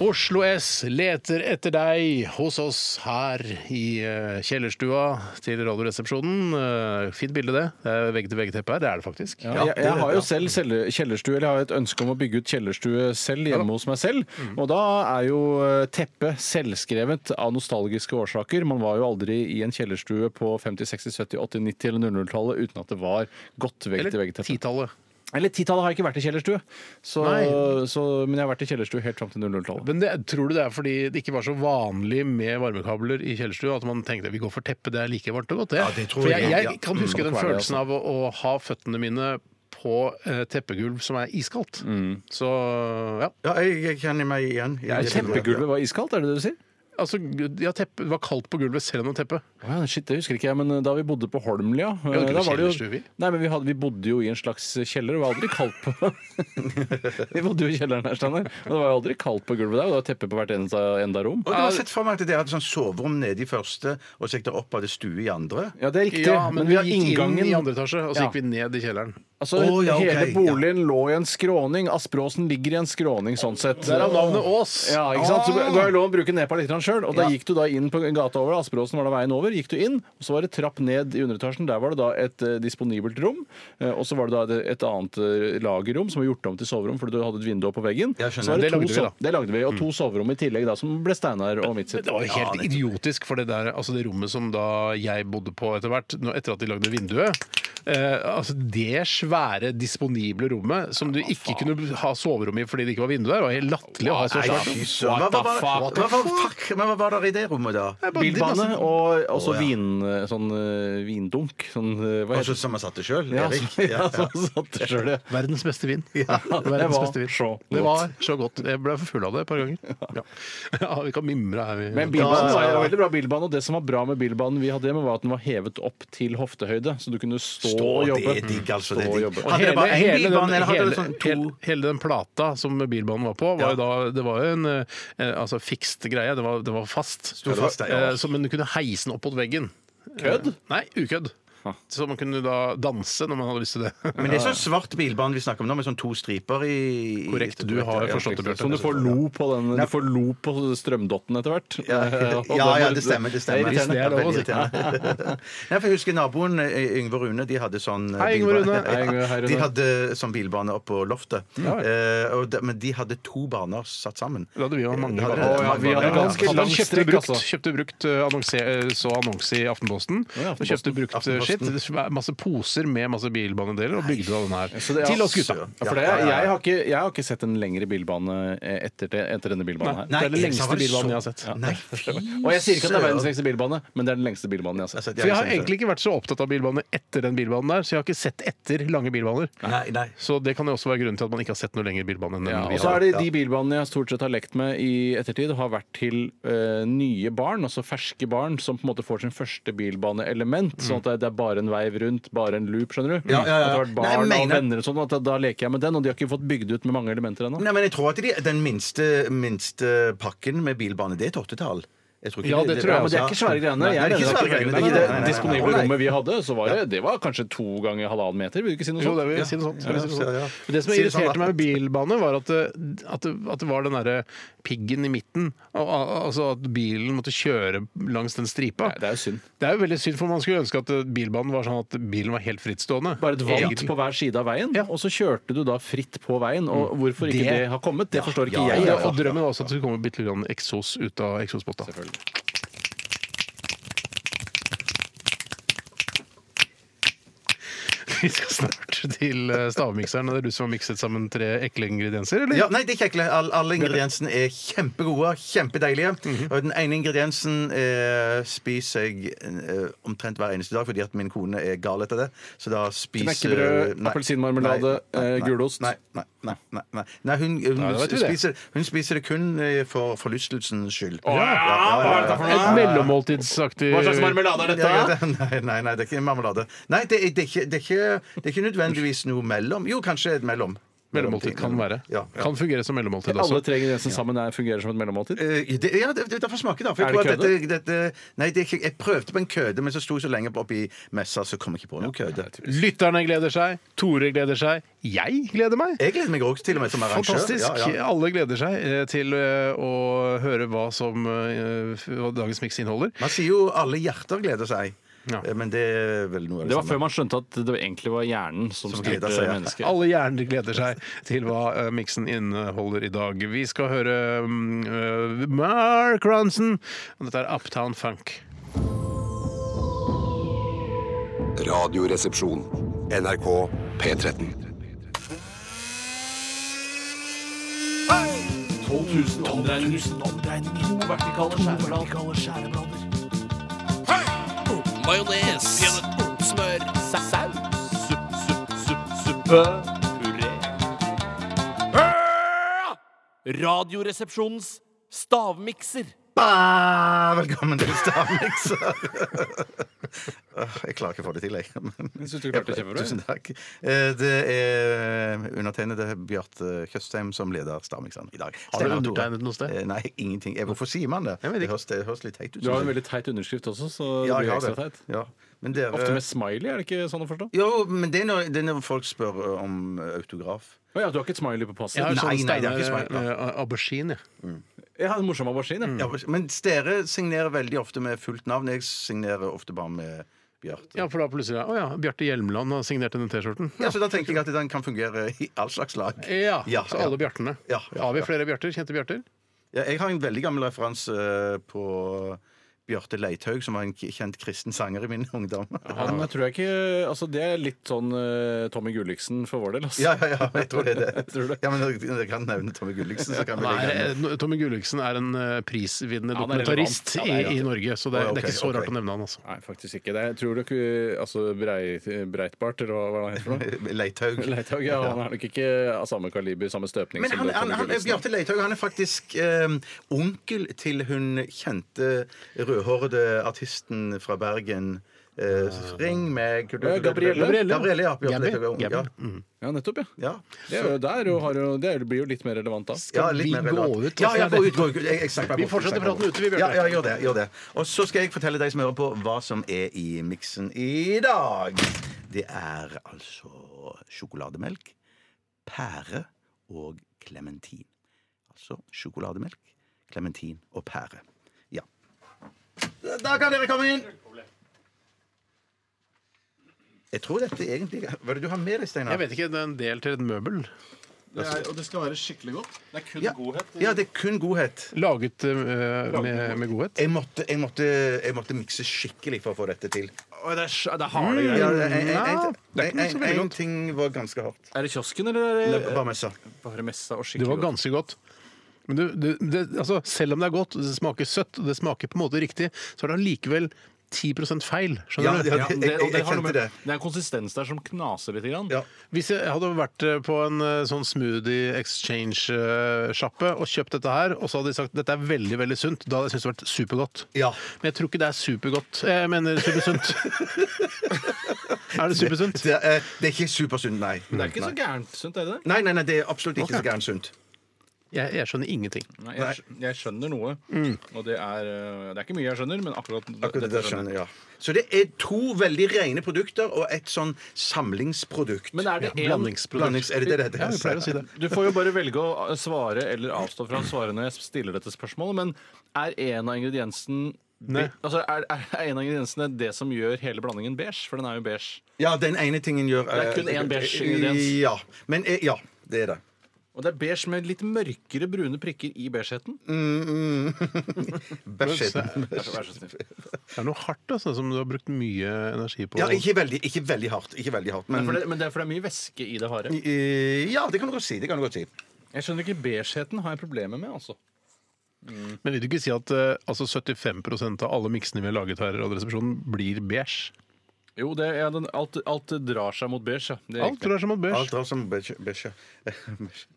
Oslo S leter etter deg hos oss her i eh, kjellerstua til Radioresepsjonen. Eh, Fint bilde, det. Det er vegg-til-vegg-teppe her. Det er det faktisk. Ja, jeg, jeg har jo selv celle- kjellerstue, eller jeg har et ønske om å bygge ut kjellerstue selv hjemme hos meg selv. Og da er jo eh, teppet selvskrevet av nostalgiske årsaker. Man var jo aldri i en kjellerstue på 50-, 60-, 70-, 80-, 90- eller 00-tallet uten at det var godt Eller vegg-til-vegg-teppe. titallet. Eller 10-tallet har jeg ikke vært i kjellerstue, så, Nei. så, men jeg har vært i kjellerstue helt fram til 00-tallet. Men det, tror du det er fordi det ikke var så vanlig med varmekabler i kjellerstua? At man tenkte vi går for teppe, det er like varmt og godt, det. Ja, det tror for jeg, jeg, ja. jeg kan huske den nok være det, følelsen av å, å ha føttene mine på eh, teppegulv som er iskaldt. Så ja. Ja, jeg, jeg kjenner meg igjen. i det bildet. Teppegulvet var iskaldt, er det det du sier? Altså, ja, teppe, det var kaldt på gulvet selv om det var teppe. Å ja, shit, det husker ikke jeg, men eh, da vi bodde på Holmlia eh, hadde ikke da var det jo, kjellerstue, vi. Nei, men vi, hadde, vi bodde jo i en slags kjeller, det var aldri kaldt på Vi bodde jo i kjelleren her, Steinar. Og det var jo aldri kaldt på gulvet der, og det var teppe på hvert enda, enda rom. Og du har sett for meg at dere hadde sånn soverom nede i første, og så gikk dere opp av det stue i andre. Ja, det er riktig, Ja, men, vi har gikk inngangen inn i andre etasje, og så Ja. gikk vi ned i kjelleren. Altså, Å, ja, ok, hele ja. boligen lå i en skråning. Aspråsen ligger i en skråning, sånn sett. Derav navnet Ås. Ja, ikke sant? Så ga jeg lov å bruke nepa litt sjøl. Og da gikk du da inn på gata over. Asperåsen var da veien over. Gikk du inn, og så var det trapp ned i underetasjen. Der var det da et eh, disponibelt rom. eh, Og så var det da et, et annet eh, lagerrom som var gjort om til soverom fordi du hadde et vindu på veggen. Jeg skjønner. Så var Det lagde to vi, so- Det lagde vi. Og to soverom i tillegg da, som ble Steinar og mitt sitt. Men det var jo helt idiotisk, for det, der, altså det rommet som da jeg bodde på etter hvert, nå- etter at de lagde vinduet eh, altså Det svære, disponible rommet som du ikke kunne ha soverom i fordi det ikke var vindu der, var helt latterlig å ha så Nei, svært. fy søren. Hva, hva, hva, hva, hva, fuck, men hva var der i det rommet, da? Bilbane og også Å, ja. vin, eh, sånn eh, vindunk. Sånn, eh, hva Altså, heter det? som jeg satte sjøl? Ja, Erik? så, ja, så, satt det selv, ja. Verdens beste vin. det Verdens var beste vin. så Det godt. var så godt. Jeg ble for full av det et par ganger. Ja, ja vi kan mimre her. Vi. Men bilbanen var jo veldig bra bilbane, og det som var bra med bilbanen vi hadde hjemme, var at den var hevet opp til hoftehøyde, så du kunne stå, Stå, og det jobbe. er digg, altså. Det Stå er og digg. jobbe. Og Hadde hele, det bare én hele, bilbane, den, eller hadde hele, det sånn hele, to? hele den plata som bilbanen var på, var jo da, det var jo en eh, altså, fikst greie. Det var, det var fast. Sto fast, ja. Eh, så, men du kunne heise den opp mot veggen. Kødd? Eh, Nei, ukødd. Så man kunne da danse når man hadde lyst til det. Men det er sånn svart bilbane vi snakker om nå, med sånn to striper i i- Korrekt, du har Ja, forstått det, Bjørte. Som Sånn du får lo på, den, du får lo på strømdotten etter hvert. Ja, Og ja, ja, den- det stemmer. det stemmer. Det er irriterende. Ja, veldig Det er lov å si. irriterende. Nei, for jeg husker naboen eh, Yngve og Rune. De hadde sånn eh, Hei, Yngve og Rune. bilbane. Hei, Yngve. Hei, Rune. De hadde sånn bilbane oppe på loftet. Eh, og de, men de hadde to baner satt sammen. Eh, Da hadde vi jo mange Hadde baner. dere- Å, ja, vi hadde Ja, ganske ja. Han lang kjøpte strikk, brukt, altså. kjøpte brukt eh, annonse, eh, så annonse i Aftenposten. ja, Og kjøpte brukt eh, shit. Aftenposten. Masse poser med masse bilbanedeler, og bygde da den her. Så det er- altså- Til oss gutta. Ja, for det, er- jeg, har ikke, jeg har ikke sett en lengre bilbane eh, etter, det, etter denne bilbanen her. Nei, det er den jeg sa lengste vel så- bilbanen jeg har sett. Ja. Nei, fy Og jeg sier ikke at det er verdens lengste bilbane, men det er den lengste bilbanen jeg har sett. Altså, de For jeg ikke har sett det. egentlig ikke vært så opptatt av bilbaner etter den bilbanen der, så jeg har ikke sett etter lange bilbaner. Nei, nei. Så det kan jo også være grunnen til at man ikke har sett noe lenger bilbane enn den Ja, vi og så har. er det de bilbanene jeg stort sett har lekt med i ettertid, har vært til eh, nye barn, altså ferske barn, som på en måte får sin første bilbaneelement. Sånn at det- det er bare en veiv rundt, bare en loop, skjønner du? Ja, ja, ja. At det har vært Nei, jeg barn og mener- venner og sånn, at da, da leker jeg med den, og de har ikke fått bygd ut med mange elementer ennå. Nei, men jeg tror at de, den minste, minste pakken med bilbane, det er et åttetall. Jeg tror ikke Ja, det tror jeg Ja, men det er ikke svære greiene. Nei, det er Jeg ikke mener at svære det- greiene. i Nei, nei, nei, nei, det nei. disponible Nei. rommet vi hadde, så var det, det var kanskje to ganger halvannen meter. Vil du ikke si noe Jo, det sånt? vil jeg si noe sånt. Ja, Jeg vil si noe ja, ja. sånt. Men Det som Si det sånn, irriterte da. meg med bilbane, var at det, at det, at det var den derre piggen i midten. Al- al- Altså at bilen måtte kjøre langs den stripa. Nei, det er jo synd. Det er jo veldig synd, for man skulle ønske at eh, bilbanen var sånn at bilen var helt frittstående. Bare et valgt Egentlig. på hver side av veien, og så kjørte du da fritt på veien. Og hvorfor ikke Det- det, har kommet, det forstår Ja, ikke jeg. ja, og drømmen var også at det skulle komme bitte litt grann eksos ut av eksospotta. Vi skal snart til eh, stavmikseren. og Det er du som har mikset sammen tre ekle ingredienser, eller? Ja, nei, det er ikke ekle. All, alle ingrediensene er kjempegode, kjempedeilige. Og den ene ingrediensen eh, spiser jeg eh, omtrent hver eneste dag, fordi at min kone er gal etter det. Så da spiser Knekkebrød, Nei. appelsinmarmelade, Nei, nei, eh, nei, gulost. Nei, nei, nei. nei, nei. nei hun, hun, Nei, da vet vi det. spiser, hun spiser det kun eh, for forlystelsens skyld. Et mellommåltidsaktig Hva slags marmelade er Ja, dette? det- Nei, nei, nei, det er ikke marmelade. Nei, det er, det, er ikke, det, er ikke, det er ikke nødvendigvis noe mellom. Jo, kanskje et mellom. Mellommåltid kan være. Ja, ja. Kan fungere som mellommåltid Alle også. tre ingrediensene sammen er, fungerer som et mellommåltid? Eh, det, ja, det, det, derfor smaker det. For Er jeg, det tror at dette, dette, nei, det er ikke, jeg prøvde på en køde, men så sto jeg så lenge oppi messa, så kom jeg ikke på noen køde. Lytterne gleder seg, Tore gleder seg, jeg gleder meg. Jeg gleder meg også til og med som arrangør. Fantastisk. Ja, ja. Alle gleder seg eh, til eh, å høre hva som eh, f- hva dagens miks inneholder. Man sier jo 'alle hjerter gleder seg', Ja. Eh, men det er vel noe av det, Det var samme. før man skjønte at det egentlig var hjernen som, Som styrte gleda seg, ja. mennesket. Alle hjerner gleder seg til hva eh, miksen inneholder i dag. Vi skal høre mm, eh, Mark Ronson. Og dette er Uptown Funk. Radioresepsjon. NRK P13. 12 000 omdreininger. 12 000 omdreininger. To vertikale skjæreblader. Hei! Majones. Smør. Saus. Supp, supp, supp, suppe. Puré. Ah! Radioresepsjonens stavmikser. Bah, velkommen til Stavmikser! Åh, jeg klarer ikke å få det til, jeg. Men- Jeg synes du klarte det kjempebra. Tusen takk. Eh, Det er undertegnede Bjarte Tjøstheim som leder Stavmikseren i dag. Har du Stemmer, Tore? undertegnet noe sted? Eh, Nei, ingenting. Eh, Hvorfor sier man det? Jeg vet ikke. Det høres, det høres litt teit ut. Du har en synes jeg. veldig teit underskrift også, så Ja, det jeg blir har ekstra det. teit. Ja. Men dere Ofte med smiley, er det ikke sånn å forstå? Jo, men det er når, det er når folk spør eh, om autograf. Å ja, du har ikke et smiley på passet? Jeg har Nei, sånn nei, det er steiner ikke smart, da. eh, aubergine. jeg. Jeg har en morsom aubergine. Ja, men dere signerer veldig ofte med fullt navn. Jeg signerer ofte bare med Bjarte. Ja, for da plutselig Å ja, Bjarte Hjelmland har signert denne T-skjorten. Ja, så da tenker jeg at den kan fungere i all slags lag. Eh, Ja, Ja, så alle ja. Bjartene. Ja, ja, Har vi ja. flere Bjarter? Kjente Bjarter? Ja, jeg har en veldig gammel referanse eh, på Bjarte Leithaug, som var en k- kjent kristen sanger i min ungdom. Han tror jeg ikke Altså, det er litt sånn eh, Tommy Gulliksen for vår del, altså. Ja, ja, ja, jeg tror det er det. Tror du det? Ja, men når når jeg kan nevne Tommy Gulliksen, så kan vi Nei, legge den. eh, Tommy Gulliksen er en eh, prisvinnende Han er dokumentarist relevant. Ja, det er i, i riktig. Norge, så det er, Å, ja, det er ikke ok, så rart ok. å nevne han, altså. Nei, faktisk ikke. Det er, tror du ikke Altså Brei, Breitbart, eller hva hva er det han heter for noe? Leithaug. Leithaug, ja. Han er nok ikke av samme kaliber, samme støpning Men som han, det han, Tommy han, Gulliksen er. Bjarte Leithaug han er faktisk eh, onkel til hun kjente rødhårede artisten fra Bergen. Eh, ring med kultur... Gabrielle. Gabrielle, ja. Gabby. Mm. ja, ja, ja. Ja, nettopp, ja. ja. Det, er jo der, og har jo, det er- blir jo litt mer relevant da. Ja, litt vi mer gå relevant. ut og Ja, se ja, det? gå ut, gå ut. Jeg, jeg snakker meg bort, Vi jeg fortsetter snakker meg praten bort. ute, vi, Bjørte. Ja, ja, gjør det, gjør det. Og så skal jeg fortelle deg som hører på, hva som er i miksen i dag. Det er altså sjokolademelk, pære og klementin. Altså sjokolademelk, klementin og pære. Ja. Da kan dere komme inn! Jeg tror dette egentlig Hva er det du har med deg, Steinar? Jeg vet ikke, det er en del til et møbel. og det skal være skikkelig godt. Det er kun Ja. ja, det er kun godhet. Laget eh, med, med godhet. Jeg måtte, jeg, måtte, jeg måtte mikse skikkelig for å få dette til. det er, det er harde Ja, det er- en- Ja, en- det er ikke så en- veldig en- en godt. ting var ganske hardt. Er det kiosken, eller er det Bare messa. bare messa og Det skikkelig var ganske godt. Men du, du, det, altså, selv om det er godt, det smaker søtt, og det smaker på en måte riktig, så er det allikevel 10 feil. Ja, Skjønner du? ja, Ja, det- jeg, det, jeg, og det, jeg har kjente noe med, det. det er en konsistens der som knaser litt. Grann. Ja. Hvis jeg hadde vært eh, på en eh, sånn smoothie exchange-sjappe eh, og kjøpt dette her, og så hadde de sagt dette er veldig veldig sunt, da hadde jeg syntes det vært supergodt. Ja. Men jeg tror ikke det er supergodt. Eh, Jeg mener supersunt. er det supersunt? Det, er, eh, det er ikke supersunt, nei. Det er ikke så gærent, sunt, er det det? Nei, nei, nei, det er absolutt ikke så gærent sunt. Jeg, jeg skjønner ingenting. Nei, jeg, skj- jeg skjønner noe. Og det er, eh, det er ikke mye jeg skjønner, men akkurat, Mm. Akkurat det dette der skjønner jeg, ja. Så det er to veldig rene produkter og et sånn samlingsprodukt. Men er det en- Blandingsprodukt. Blandings- er det det det heter? Ja, vi pleier å si det. Du får jo bare velge å eh, svare eller avstå fra å svare når jeg stiller dette spørsmålet, men er en av ingrediensene Nei. Altså, er, er er en av ingrediensene det som gjør hele blandingen beige? For den er jo beige. Ja, den ene tingen gjør er eh, kun én beige-ingrediens. Ja. Men eh, ja, det er det. Og det er beige med litt mørkere brune prikker i beigeheten. Bæsjeten. Vær så snill. Det er noe hardt altså, som du har brukt mye energi på. Ja, ikke veldig, ikke veldig hardt. Ikke veldig hardt Men, for men det, men det er for det er mye væske i det harde. Eh, Ja, det kan du godt si. Det kan du godt si. Jeg skjønner ikke beigeheten har jeg problemer med, altså. Men vil du ikke si at eh, altså 75 av alle miksene vi har laget her, i Radioresepsjonen blir beige? Jo, det er den, alt, alt drar seg mot beige. ja. Det er Alt riktig. tror jeg er som at Alt beige. har som bæsje. bæsje.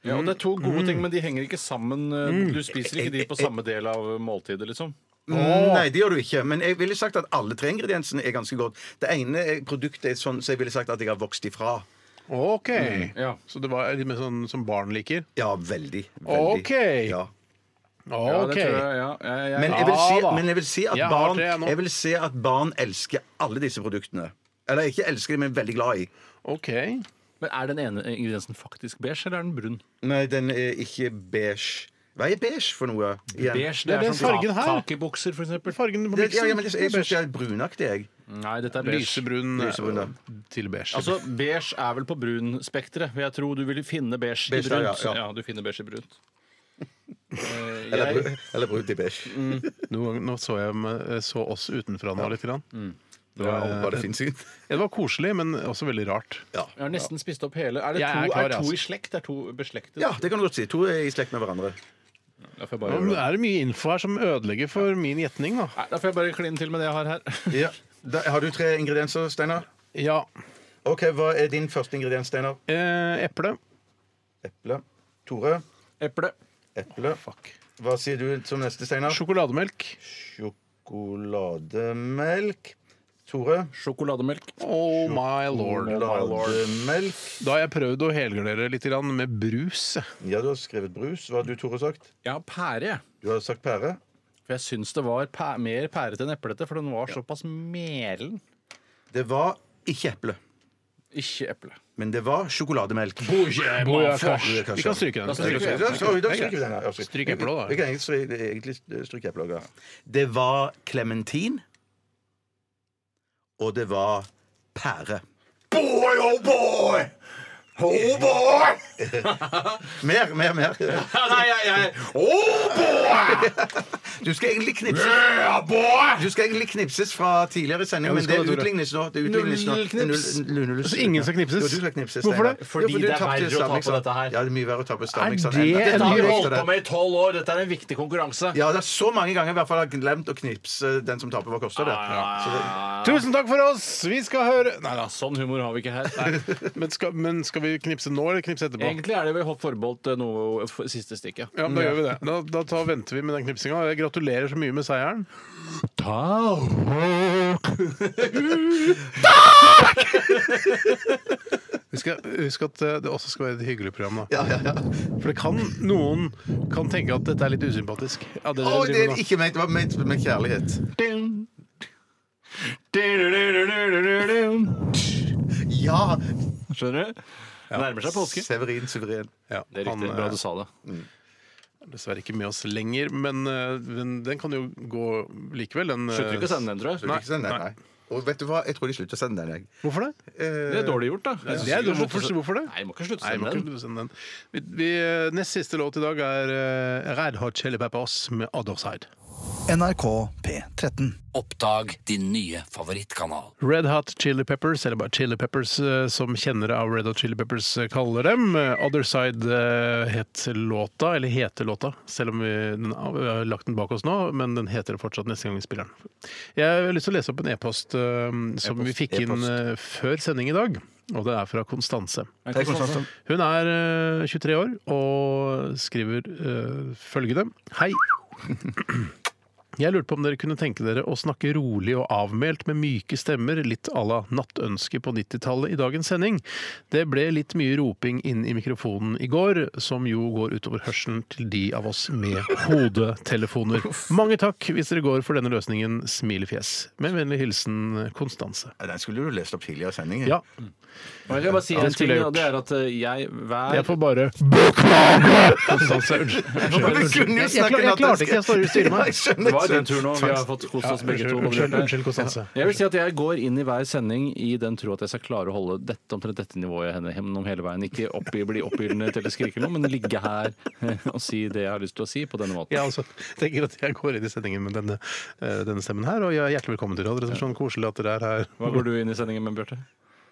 Ja, og det er to gode ting, men de henger ikke sammen. eh, Du spiser ikke de på samme del av måltidet, liksom. Mm, Nei, det gjør du ikke. Men jeg ville sagt at alle tre ingrediensene er ganske godt. Det ene er- produktet er sånn så jeg ville sagt at jeg har vokst ifra. OK. Ja. Så det var litt mer sånn som barn liker? Ja, veldig. veldig. Ok. Ja. Ja, det OK. tror jeg, ja. Jeg- jeg- Men, jeg vil Ja da. si, men jeg, vil si at Jeg har barn, det nå. jeg vil si at barn elsker alle disse produktene. Eller ikke elsker de, men veldig glad i. OK. Men er den ene ingrediensen faktisk beige, eller er den brun? Nei, den er ikke beige. Hva er beige for noe? Igjen. Beige, Det er den som fargen her. kakebukser, for eksempel. Fargen på Det, ja, ja, men miksen? jeg jeg syns jeg er brunaktig, jeg. Nei, dette er beige. Lysebrun eh, Lysebrun, ja. til beige. Altså, Beige er vel på brunspekteret. vil Jeg tror du vil finne beige, Beige, i ja, brunt. Ja, ja. du finner beige i brunt. Eh, Eller, jeg, bru- eller brunt i beige. Noen ganger- nå så jeg meg- så oss utenfra nå litt. Mm. Grann. Det var bare det finnes ut. Det var koselig, men også veldig rart. Ja. jeg har nesten spist opp hele. Er det to, Jeg er klar, er to altså. i slekt? Det er to beslektet? ja, det kan du godt si. To er i slekt med hverandre. Da får jeg bare, Nå gjøre det. er det mye info her som ødelegger for min gjetning, da. Nei, da får jeg bare kline til med det jeg har her. Ja. Da, har du tre ingredienser, Steinar? Ja. Ok, Hva er din første ingrediens, Steinar? Eh, eple. Eple. Tore? Eple. Eple. Hva sier du som neste, Steinar? Sjokolademelk. Sjokolademelk. Tore? Sjokolademelk. Oh my lord. Sjokolademelk. Da har jeg prøvd å helgardere litt grann med brus. Ja, du har skrevet brus. Hva har du, Tore, sagt? Jeg har pære. jeg. Du har sagt pære. For jeg syns det var pæ mer pærete enn eplete, for den var såpass melen. Det var ikke eple, Ikke eple. men det var sjokolademelk. Bojakasj. Vi kan stryke Da den. stryker vi. Ja, så- da stryker vi den her. Ja, Stryk eplet, da. Vi kan egentlig stry- egentlig stryke eplet. ja. Det var klementin, og det var pære. Boy, oh boy! Oh boy! Mer, mer, mer. Nei, nei, nei. Oh boy! Du skal egentlig knipses, Yeah, boy! du skal egentlig knipses fra tidligere sending, men det skal du, Tore. utlignes nå. Det utlignes nå. Null knips. Null- null- null- Så ingen skal knipses? Jo, du skal knipses. Hvorfor det? Steinar. Jo, Fordi du det er tapte verre å Stavanger, tape sant? dette her. Ja, det er mye verre å tape Stavanger. sånn. Er sant? det Enda- en Dette har vi ny holdt på med i tolv år. Dette er en viktig konkurranse. Ja, det er så mange ganger i hvert fall jeg har glemt å knipse den som taper. Hva koster det? Ja, ja, ja, ja, Tusen takk for oss! Vi skal høre Nei da, sånn humor har vi ikke her. Men, skal, men skal vi knipse nå, eller knipse etterpå? Egentlig er det vel forbeholdt eh, noe f- siste stikket. Ja, Da gjør vi det. Da, da tar, venter vi med den knipsinga. Jeg gratulerer så mye med seieren. Husk at, husk at eh, det også skal være et hyggelig program. da For det kan noen kan tenke at dette er litt usympatisk. Ja, det, Å, dere det driver er med. ikke ment, det var ment med kjærlighet. Ja! Skjønner du? Det Nærmer seg påske. Severin suveren. ja, Det er han riktig. eh, Bra du sa det. er dessverre ikke med oss lenger, men eh, den, den kan jo gå likevel. Den, eh, Slutter ikke å sende den, tror jeg. Nei, nei, nei. Og vet du hva, jeg tror de slutter å sende den, jeg. Eh, Hvorfor det? Det er dårlig gjort, da. Det er, hvorfor, hvorfor det? Nei, jeg må ikke slutte å Nei, sende man den. kunne sende den. Vi, vi, eh, nest siste låt i dag er eh, Red Hot Chili Peppers med Other Side. NRK P13. Oppdag din nye favorittkanal. Red Hot Chili Peppers, eller bare Chili Peppers, eh, som kjennere av Red Hot Chili Peppers eh, kaller dem. Eh, Other Side eh, het låta, eller heter låta, selv om vi, den, vi har lagt den bak oss nå, men den heter det fortsatt neste gang vi spiller den. Jeg har lyst til å lese opp en e-post eh, som vi fikk inn eh, før sending i dag, og det er fra Konstanse. Hun er eh, 23 år og skriver eh, følgende. Hei. Jeg lurte på om dere kunne tenke dere å snakke rolig og avmælt med myke stemmer, litt à la Nattønske på 90-tallet i dagens sending. Det ble litt mye roping inn i mikrofonen i går, som jo går utover hørselen til de av oss med hodetelefoner. Mange takk hvis dere går for denne løsningen, smilefjes. Med vennlig hilsen Konstanse. Nei, Den skulle du lest opp tidligere i sendingen. Ja, Og Jeg kan bare si det en ting, skulle jeg og det er at eh, jeg hver jeg får bare Beklage! Konstanse, unnskyld. Men vi kunne jo Jeg- jeg snakke klar- jeg klarte ikke, jeg står jo i styret med. Ja, jeg skjønner, Det var skjønner. din tur nå. Vi har fått kost oss begge to. Konstanse. Jeg vil si at jeg går inn i hver sending i den tro at jeg skal klare å holde dette omtrent dette nivået henne gjennom hele veien. Ikke oppi, bli oppildende til å skrike noe, men ligge her og si det jeg har lyst til å si på denne måten. Jeg altså, tenker at jeg går inn i sendingen med denne, eh, denne stemmen her, og jeg er hjertelig velkommen til Radioresepsjonen. Koselig at dere er her. Hva går du inn i sendingen med, Bjarte?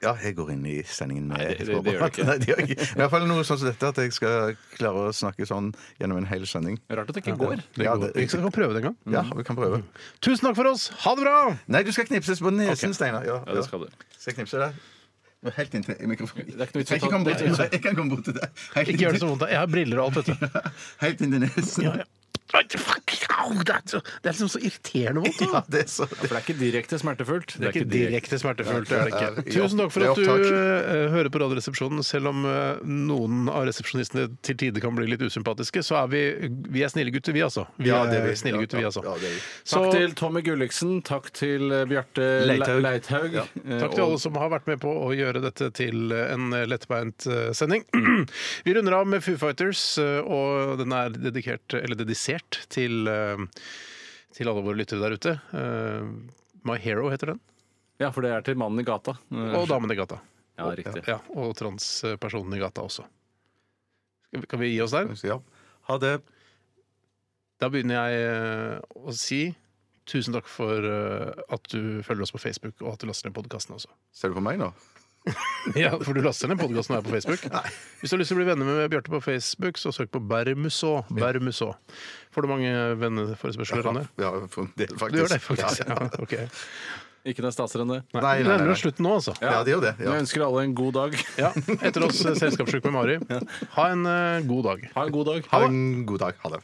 Ja, jeg går inn i sendingen med det- det- det gjør du ikke. Nei, det gjør jeg ikke. I hvert fall noe sånn som dette, at jeg skal klare å snakke sånn gjennom en hel sending. Rart at det ikke går. Det Ja, går. det- Vi skal prøve det en gang. Ja, vi kan prøve. Tusen takk for oss! Ha det bra! Nei, du skal knipses på nesen, Steinar. Ja, Ja, det skal du. Skal jeg knipse deg? Du er Helt inntil i mikrofonen. er ikke noe vits i å jeg, ta- kan det er ikke bort, jeg kan komme bort til deg. Helt Ikke gjør det så inntil- vondt. Jeg har briller og alt, vet du. Helt inntil nesen. Ja, ja. Oi, fuck, au, Det er, så, det er liksom så irriterende vondt. Ja, Da. det er så For det er ikke direkte smertefullt. Det er ikke direkte smertefullt. Det er det ikke. Det er- Tusen takk for det er at du opptak. eh, hører på Radioresepsjonen. Selv om eh, noen av resepsjonistene til tider kan bli litt usympatiske, så er vi, vi er snille gutter, vi altså. Vi Ja, det er er vi. snille gutter, vi altså. Ja, det er vi. Så- Takk til Tommy Gulliksen, takk til eh, Bjarte Le- Leithaug. Leithaug. Ja. eh, Takk til og- alle som har vært med på å gjøre dette til en lettbeint eh, sending. Vi runder av med Foo Fighters, eh, og den er dedikert, eller dedisert til, eh, til alle våre lyttere der ute. Eh, My Hero heter den. Ja, for det er til mannen i gata. Eh, Og Damen i gata. Ja, riktig. Ja, og transpersonen i gata også. Skal vi- Kan vi gi oss der? Ja. Ha det. Da begynner jeg eh, å si tusen takk for eh, at du følger oss på Facebook, og at du laster ned podkasten også. Ser du på meg nå? Ja, for du laster ned podkasten her på Facebook. Hvis du har lyst til å bli venner med Bjarte på Facebook, så søk på Bermuså. Bermuså. Får du mange venneforespørsler? Anne? Ja, for en del, faktisk. Du gjør det, faktisk. Ja, Ja, ja. ok. Ikke noe stasere enn det. Nei, Nei, nei, vi nei, nærmer nei. oss slutten nå, altså. Ja, det gjør det. Jeg Ja. ønsker alle en god dag. Ja. Etter oss eh, Selskapssjuk med Mari. Ha en eh, god dag. Ha en god dag. Ha en god dag. Ha det.